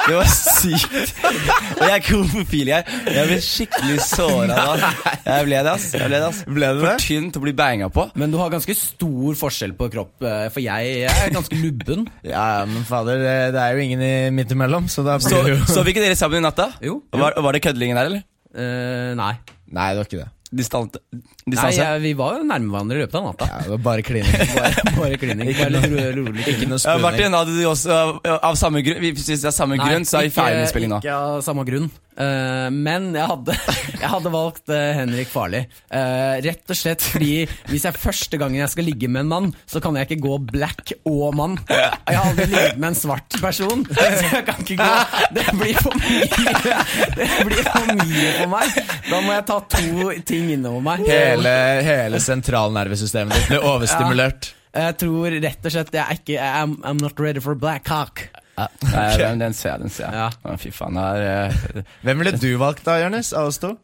Speaker 3: det var sykt. Og jeg er ikke homofil, jeg. Jeg ble skikkelig såra da. Jeg ble det, ass. Jeg ble det, ass.
Speaker 4: Ble du det?
Speaker 3: For tynn til å bli banga på.
Speaker 2: Men du har ganske stor forskjell på kropp, øh, for jeg, jeg er ganske lubben.
Speaker 4: Ja, ja, men fader, det, det er jo ingen i midt imellom, så da
Speaker 3: Så,
Speaker 4: blir det jo
Speaker 3: så vi ikke dere sammen i natta?
Speaker 2: Jo.
Speaker 3: Var, var det kødlingen der, eller?
Speaker 2: Eh, nei.
Speaker 4: Nei, det var ikke det.
Speaker 3: Distante.
Speaker 2: nei
Speaker 3: Distanse?
Speaker 2: jeg, vi var jo nærme hverandre i løpet av natta.
Speaker 4: Ja, det var bare klining.
Speaker 2: Bare, bare klining. Bare litt ro- rolig
Speaker 4: Ikke
Speaker 2: klining.
Speaker 4: noe
Speaker 3: Ja,
Speaker 4: spooning.
Speaker 3: Martin, hadde du også av- Av samme grunn vi- Hvis det er samme
Speaker 2: Nei,
Speaker 3: grunn, så er vi
Speaker 2: ikke-
Speaker 3: ferdig med spilling nå.
Speaker 2: Ikke av samme grunn. Eh, men jeg hadde, jeg hadde valgt eh, Henrik Farli. Eh, rett og slett fordi hvis jeg første gangen jeg skal ligge med en mann, så kan jeg ikke gå black og mann. Jeg har aldri ligget med en svart person, så jeg kan ikke gå Det blir for mye. Det blir for mye for meg. Da må jeg ta to ting innover meg.
Speaker 4: Hele, hele sentralnervesystemet ditt ble overstimulert.
Speaker 2: Jeg tror rett og slett jeg er ikke I'm, I'm not ready for black cock.
Speaker 3: Nei, eh, den, den ser jeg, den ser jeg.
Speaker 2: Ja.
Speaker 3: Å, Fy faen, det er, eh,
Speaker 4: Hvem ville du valgt da, Jonis? Av oss to?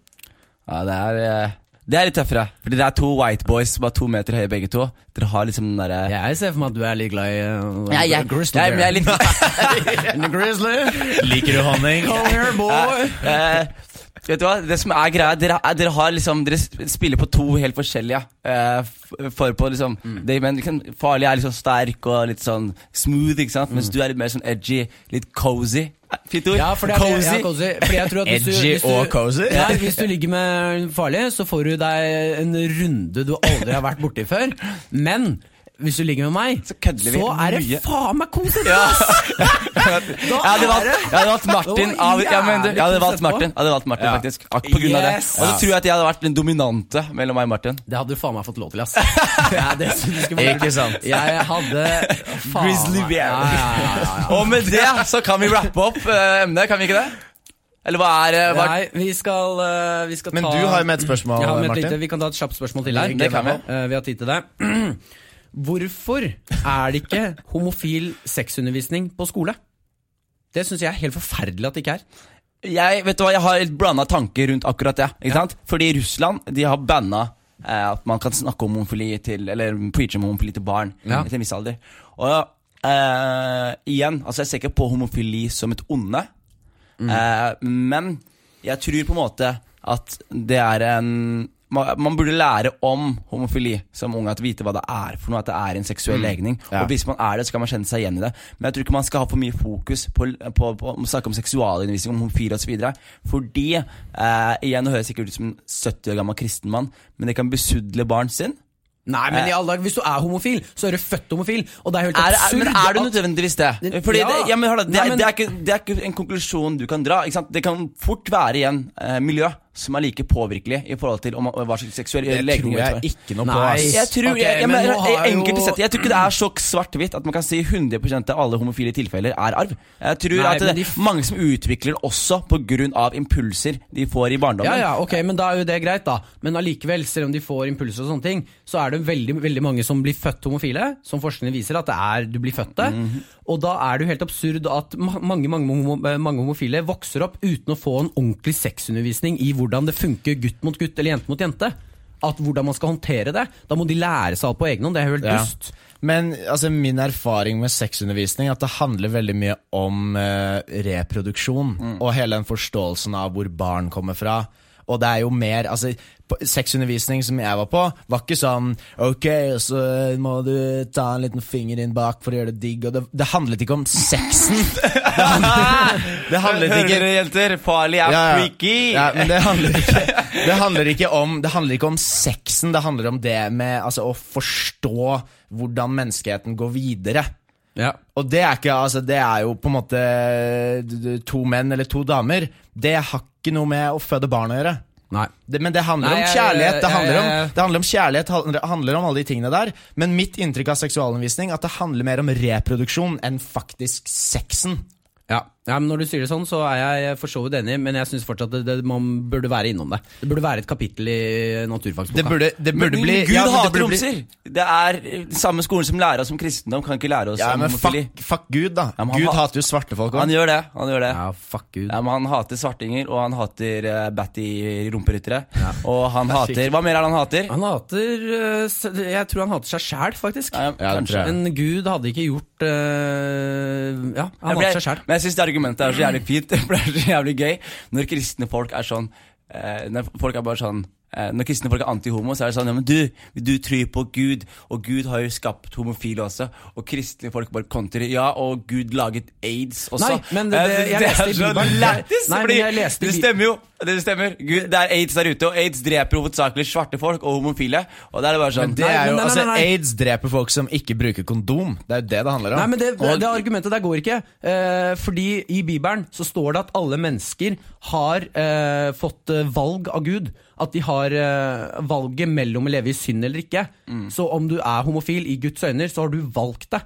Speaker 3: ja, det er eh, Det er litt tøffere. Fordi det er to white boys som er to meter høye begge to. Dere har liksom den derre
Speaker 2: Jeg ser for meg at du er litt glad i uh,
Speaker 3: Nei, jeg,
Speaker 2: Grizzly
Speaker 3: jeg, men jeg er
Speaker 2: Bear.
Speaker 3: litt
Speaker 2: Grizzly.
Speaker 4: Liker du honning?
Speaker 2: Come here, boy.
Speaker 3: Eh, Vet du hva, det som er greia Dere, er- dere har liksom Dere sp- spiller på to helt forskjellige eh, f- For på liksom
Speaker 2: Mm.
Speaker 3: det, Men liksom, farlig er litt sånn sterk og litt sånn smooth, ikke
Speaker 2: Mm.
Speaker 3: sant? Mens du er litt mer sånn edgy, litt cozy. Eh, Fint ord.
Speaker 2: Ja, for det er cozy. Ja, cozy. Fordi jeg tror at hvis du,
Speaker 4: Edgy
Speaker 2: hvis du,
Speaker 4: og cozy?
Speaker 2: Ja, hvis du ligger med en farlig, så får du deg en runde du aldri har vært borti før. Men hvis du ligger med meg,
Speaker 3: Så kødler vi
Speaker 2: er det
Speaker 3: mye.
Speaker 2: faen meg koselig!
Speaker 3: Ja.
Speaker 2: Da
Speaker 3: Jeg hadde valgt,
Speaker 2: er det
Speaker 3: jeg hadde valgt Martin.
Speaker 2: Å,
Speaker 3: Av, jeg, mener,
Speaker 2: jævlig
Speaker 3: jeg hadde
Speaker 2: konsert
Speaker 3: valgt
Speaker 2: på.
Speaker 3: Martin, jeg hadde valgt Martin
Speaker 4: Ja.
Speaker 3: faktisk Ak- På grunn av det.
Speaker 2: Yes.
Speaker 3: Og så tror jeg at jeg hadde vært den dominante mellom meg og Martin.
Speaker 2: Det hadde du faen meg fått lov til, ass. Ja, det synes jeg skulle vært-
Speaker 4: Ikke sant?
Speaker 2: Jeg hadde faen
Speaker 3: Grizzly
Speaker 2: meg-
Speaker 3: bear.
Speaker 2: Ja, ja, ja, ja, ja.
Speaker 3: Og med det så kan vi rappe opp eh, emnet, kan vi ikke det? Eller hva er eh, hva,
Speaker 2: Nei, vi skal, eh, vi skal
Speaker 4: Men
Speaker 2: ta
Speaker 4: du har jo med et spørsmål,
Speaker 2: Jeg har med et lite,
Speaker 4: Martin.
Speaker 2: vi kan ta et kjapt spørsmål til her.
Speaker 3: Det kan vi.
Speaker 2: Eh, Vi har tid til det. Hvorfor er det ikke homofil sexundervisning på skole? Det syns jeg er helt forferdelig at det ikke er.
Speaker 3: Jeg, vet du hva, jeg har helt blanda tanker rundt akkurat det. Ikke sant? Fordi Russland de har banna eh, at man kan snakke om homofili til Eller preache om homofili til barn
Speaker 2: Ja.
Speaker 3: til en viss alder. Og eh, igjen, altså jeg ser ikke på homofili som et onde. Eh, men jeg tror på en måte at det er en man, man burde lære om homofili som ung, at vite hva det er for noe, at det er en seksuell legning.
Speaker 4: Ja.
Speaker 3: Og hvis man er det, så kan man kjenne seg igjen i det. Men jeg tror ikke man skal ha for mye fokus på, på, på å snakke om seksualundervisning, om homofile osv. Fordi eh, Igjen, nå høres jeg sikkert ut som en 70 år gammel kristen mann, men det kan besudle barn sin.
Speaker 2: Nei, men i alle dager, hvis du er homofil, så er du født homofil. Og det er helt
Speaker 3: Er, er,
Speaker 2: absurd.
Speaker 3: men er du
Speaker 2: at-
Speaker 3: nødvendigvis det? Fordi
Speaker 2: Ja.
Speaker 3: det, ja, men, hør da, det,
Speaker 2: Nei,
Speaker 3: det,
Speaker 2: men-
Speaker 3: er ikke, det er ikke en konklusjon du kan dra. Ikke sant? Det kan fort være igjen eh, miljø som er like påvirkelig i forhold til om, hva slags seksuell
Speaker 4: Det tror jeg ikke noe på.
Speaker 2: Nei.
Speaker 4: ass.
Speaker 3: Jeg tror,
Speaker 2: Ok,
Speaker 3: jeg, jeg,
Speaker 2: men
Speaker 3: mener,
Speaker 2: nå har
Speaker 3: i enkelte
Speaker 2: jo-
Speaker 3: settinger- e- jeg tror ikke det er så svart-hvitt at man kan si 100 av alle homofile tilfeller er arv. Jeg tror
Speaker 2: Nei,
Speaker 3: at det
Speaker 2: men de
Speaker 3: er
Speaker 2: f-
Speaker 3: mange som utvikler det også pga. impulser de får i barndommen.
Speaker 2: Ja, ja, ok, men da er jo det greit, da. Men allikevel, selv om de får impulser og sånne ting, så er det veldig, veldig mange som blir født homofile, som forskningen viser at det er du blir født det. Og da er det jo helt absurd at ma- mange, mange, homo- eh, mange homofile vokser opp uten å få en ordentlig sexundervisning i hvordan det funker gutt mot gutt eller jente mot jente. At hvordan man skal håndtere det. Da må de lære seg alt på egen hånd. Det er jo helt
Speaker 4: Ja.
Speaker 2: dust.
Speaker 4: Men altså, min erfaring med sexundervisning er at det handler veldig mye om eh, reproduksjon.
Speaker 3: Mm.
Speaker 4: Og hele den forståelsen av hvor barn kommer fra. Og det er jo mer altså, på- Sexundervisning som jeg var på, var ikke sånn Ok, så må du ta en liten finger inn bak for å gjøre det digg. Og det, det handlet ikke om sexen. Det handlet, det handlet
Speaker 3: Hører
Speaker 4: ikke
Speaker 3: dere, jenter? Farlig er
Speaker 4: ja, ja.
Speaker 3: freaky!
Speaker 4: Ja, men det handler, ikke, det, handler ikke om, det handler ikke om sexen, det handler om det med altså, å forstå hvordan menneskeheten går videre.
Speaker 2: Ja.
Speaker 4: Og det er, ikke, altså, det er jo på en måte d- d- to menn eller to damer. Det har ikke noe med å føde barn å gjøre.
Speaker 2: Nei.
Speaker 4: Det, men det handler
Speaker 2: Nei,
Speaker 4: om
Speaker 2: jeg-
Speaker 4: kjærlighet. Det
Speaker 2: jeg-
Speaker 4: handler om,
Speaker 2: jeg-
Speaker 4: det handler om kjærlighet, handler- handler om alle de tingene der. Men mitt inntrykk av seksualundervisning at det handler mer om reproduksjon enn faktisk sexen.
Speaker 2: Ja. ja, men Når du sier det sånn, så er jeg for så vidt enig, men jeg syns fortsatt at det, det, man burde være innom det. Det burde være et kapittel i naturfagsboka.
Speaker 4: Det burde, det burde
Speaker 3: Men
Speaker 4: bli
Speaker 3: Gud
Speaker 4: ja, men det
Speaker 3: hater
Speaker 4: burde bli-
Speaker 3: homser! Det er eh, samme skolen som lærer oss om kristendom, kan ikke lære oss
Speaker 4: Ja,
Speaker 3: om
Speaker 4: men
Speaker 3: homofili.
Speaker 4: fuck, fuck Gud, da.
Speaker 3: Ja, men han
Speaker 4: Gud
Speaker 3: hat-
Speaker 4: hater jo svarte folk
Speaker 3: Han
Speaker 4: òg.
Speaker 3: gjør det. han gjør det
Speaker 2: Ja, fuck Gud.
Speaker 3: Ja, men Han hater svartinger, og han hater uh, Batty rumperyttere. Og han hater Hva mer er det han hater?
Speaker 2: Han hater eh, s- Jeg tror han hater seg sjæl, faktisk.
Speaker 3: Ja,
Speaker 4: Ja, det tror jeg.
Speaker 2: Men Gud hadde ikke gjort eh, Ja, han
Speaker 3: Jeg
Speaker 2: hater
Speaker 3: ble-
Speaker 2: seg sjæl.
Speaker 3: Men jeg syns det argumentet er så jævlig fint. For det er så jævlig gøy når kristne folk er sånn eh, Når folk er bare sånn eh, Når kristne folk er antihomo, så er det sånn Ja, men du, du tror på Gud, og Gud har jo skapt homofile også. Og kristne folk bare kontrer. Ja, og Gud laget aids også.
Speaker 2: Nei, men det-
Speaker 3: Eh,
Speaker 2: det- jeg
Speaker 3: er
Speaker 2: leste i
Speaker 3: så
Speaker 2: Bibelen.
Speaker 3: lættis,
Speaker 2: Nei, men
Speaker 3: fordi
Speaker 2: jeg leste i
Speaker 3: Det
Speaker 2: Bi-
Speaker 3: stemmer jo. Det stemmer. Gud, det er aids der ute, og aids dreper hovedsakelig svarte folk og homofile. Og da er det bare sånn
Speaker 4: Det
Speaker 2: Nei,
Speaker 4: er
Speaker 2: men
Speaker 4: jo,
Speaker 2: nei,
Speaker 4: altså,
Speaker 2: nei, nei.
Speaker 4: Aids dreper folk som ikke bruker kondom. Det er jo det det handler om.
Speaker 2: Nei, men det, det,
Speaker 4: Og-
Speaker 2: det argumentet der går ikke. eh, fordi i Bibelen så står det at alle mennesker har eh, fått eh, valg av Gud. At de har eh, valget mellom å leve i synd eller ikke. Så om du er homofil i Guds øyne, så har du valgt det.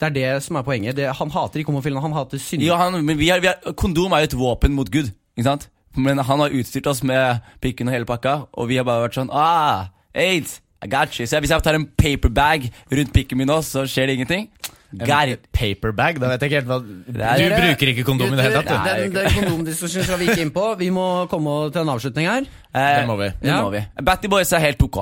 Speaker 2: Det er det som er poenget. Det, han hater ikke homofile, han hater syndere.
Speaker 3: Ja, han, men vi er, vi er, kondom er jo et våpen mot Gud, ikke sant? Men han har utstyrt oss med pikken og hele pakka, og vi har bare vært sånn ah, AIDS, I got you. Så hvis jeg tar en paperbag rundt pikken min nå, så skjer det ingenting? Got it.
Speaker 4: Paperbag, da vet jeg ikke helt hva
Speaker 3: er-
Speaker 4: Du bruker ikke kondom i det hele tatt.
Speaker 2: Den, den kondomdiskusjonen skal vi ikke inn på. Vi må komme til en avslutning her.
Speaker 3: Eh,
Speaker 4: Det må vi.
Speaker 3: Det må vi. Batty Boys er helt OK.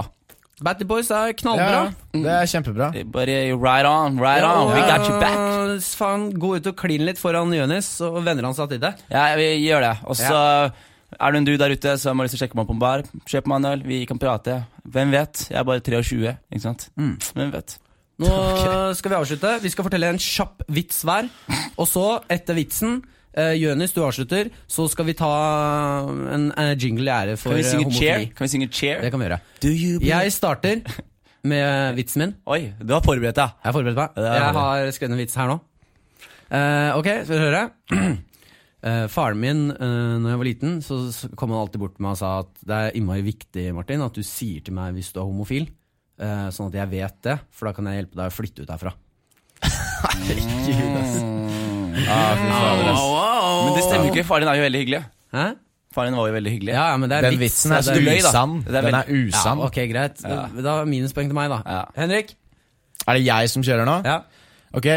Speaker 2: Batty Boys er
Speaker 4: du.
Speaker 2: knallbra.
Speaker 4: Ja, det er kjempebra.
Speaker 3: Bare right on, right on. We got you back.
Speaker 2: og, eh, Faen, gå ut og kline litt foran Jonis, og venner han seg til det.
Speaker 3: Ja, vi gjør det. Og så er det en du der ute som har lyst til å sjekke meg på en bar, kjøp meg en øl, vi kan prate. Hvem vet? Jeg er bare 23, ikke sant? Hvem vet?
Speaker 2: Nå skal vi avslutte. Vi skal fortelle en kjapp vits hver. Og så, etter vitsen eh, Jonis, du avslutter. Så skal vi ta en eh, jingle i ære for
Speaker 3: Kan vi
Speaker 2: eh,
Speaker 3: synge cheer?
Speaker 2: homofili.
Speaker 3: Kan vi synge cheer?
Speaker 2: Det kan vi gjøre.
Speaker 3: Do you believe-
Speaker 2: Jeg starter med vitsen min.
Speaker 3: Oi, du har forberedt deg.
Speaker 2: Jeg har forberedt meg.
Speaker 3: Ja, det er
Speaker 2: Jeg
Speaker 3: bra.
Speaker 2: har skrevet en vits her nå. Eh, ok, skal dere høre? Eh, faren min, uh, når jeg var liten, så, så kom han alltid bort til meg og sa at det er innmari viktig Martin, at du sier til meg hvis du er homofil, eh, sånn at jeg vet det, for da kan jeg hjelpe deg å flytte ut herfra.
Speaker 4: Mm.
Speaker 3: Men det stemmer jo ikke. Faren din er jo veldig hyggelig.
Speaker 2: Hæ?
Speaker 3: Faren din var jo veldig hyggelig.
Speaker 2: Ja, ja, men det er
Speaker 4: Den
Speaker 2: vits.
Speaker 4: vitsen
Speaker 2: så
Speaker 4: altså. er så
Speaker 2: det
Speaker 3: løy, da.
Speaker 4: usann.
Speaker 3: Det er
Speaker 4: Den er
Speaker 3: veldig-
Speaker 2: Ja,
Speaker 4: usann.
Speaker 2: ok, greit. Da minuspoeng til meg, da.
Speaker 3: Ja.
Speaker 2: Henrik?
Speaker 4: Er det jeg som kjører nå?
Speaker 2: Ja.
Speaker 4: Ok,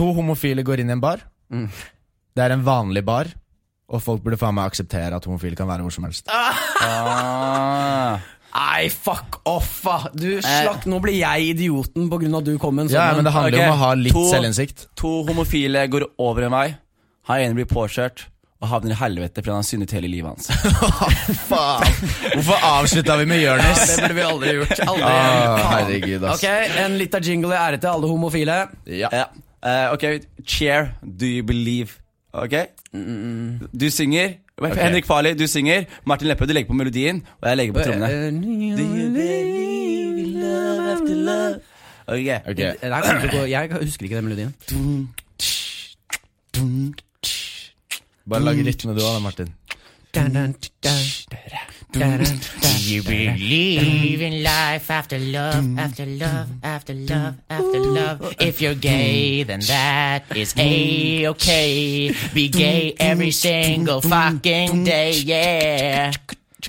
Speaker 4: To homofile går inn i en bar. Det er en vanlig bar, og folk burde faen meg akseptere at homofile kan være hvor som helst.
Speaker 3: Ah.
Speaker 2: Nei, fuck off, da! Du slakk, nå ble jeg idioten på grunn av at du kom med en sånn
Speaker 4: Eh. Ja, ja, men det handler jo
Speaker 3: Ok,
Speaker 4: om å ha litt
Speaker 3: to-
Speaker 4: selvinnsikt.
Speaker 3: To homofile går over en vei. Han ene blir påkjørt og havner i helvete fordi han har syndet hele livet hans.
Speaker 4: Faen! Hvorfor avslutta vi med Jonis?
Speaker 2: Det burde vi aldri gjort. Aldri.
Speaker 4: Å, Ah, herregud, ass.
Speaker 2: Ok, en liten jingle i ære til alle homofile.
Speaker 4: Ja.
Speaker 3: Ja. Eh, ok, cheer, do you believe? Ok? Du synger. Henrik Farley, du synger. Martin Leppe, du legger på melodien, og jeg legger på trommene.
Speaker 2: Eh,
Speaker 3: to love. Ok.
Speaker 4: Ok.
Speaker 2: Det her kommer til å gå, jeg husker ikke den melodien.
Speaker 4: Bare lag rytme du òg, da, Martin.
Speaker 5: You believe Mm. in life after love, after love, after love, after love. If you're gay, then that is a okay. Be gay every single fucking day, yeah.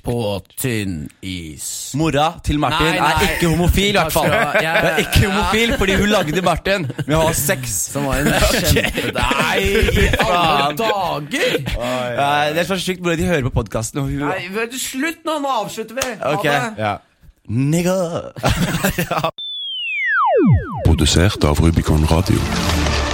Speaker 2: På tynn is.
Speaker 3: Mora til Martin
Speaker 2: Nei, nei. Altså,
Speaker 3: er ikke homofil, i hvert fall.
Speaker 2: Takk skal du ha. Jeg-
Speaker 3: Hun er ikke homofil fordi hun lagde Martin med å ha sex.
Speaker 2: Som var en kjempe...
Speaker 3: Nei,
Speaker 2: Alle
Speaker 3: faen.
Speaker 2: dager!
Speaker 3: Nei, Eh, Det er så sykt hvordan de hører på podkasten.
Speaker 2: Nei, vet du, slutt nå, nå avslutter vi! Ha
Speaker 3: Ok.
Speaker 2: det.
Speaker 4: Ja.
Speaker 3: Nigga.
Speaker 6: Produsert av Rubicon Radio.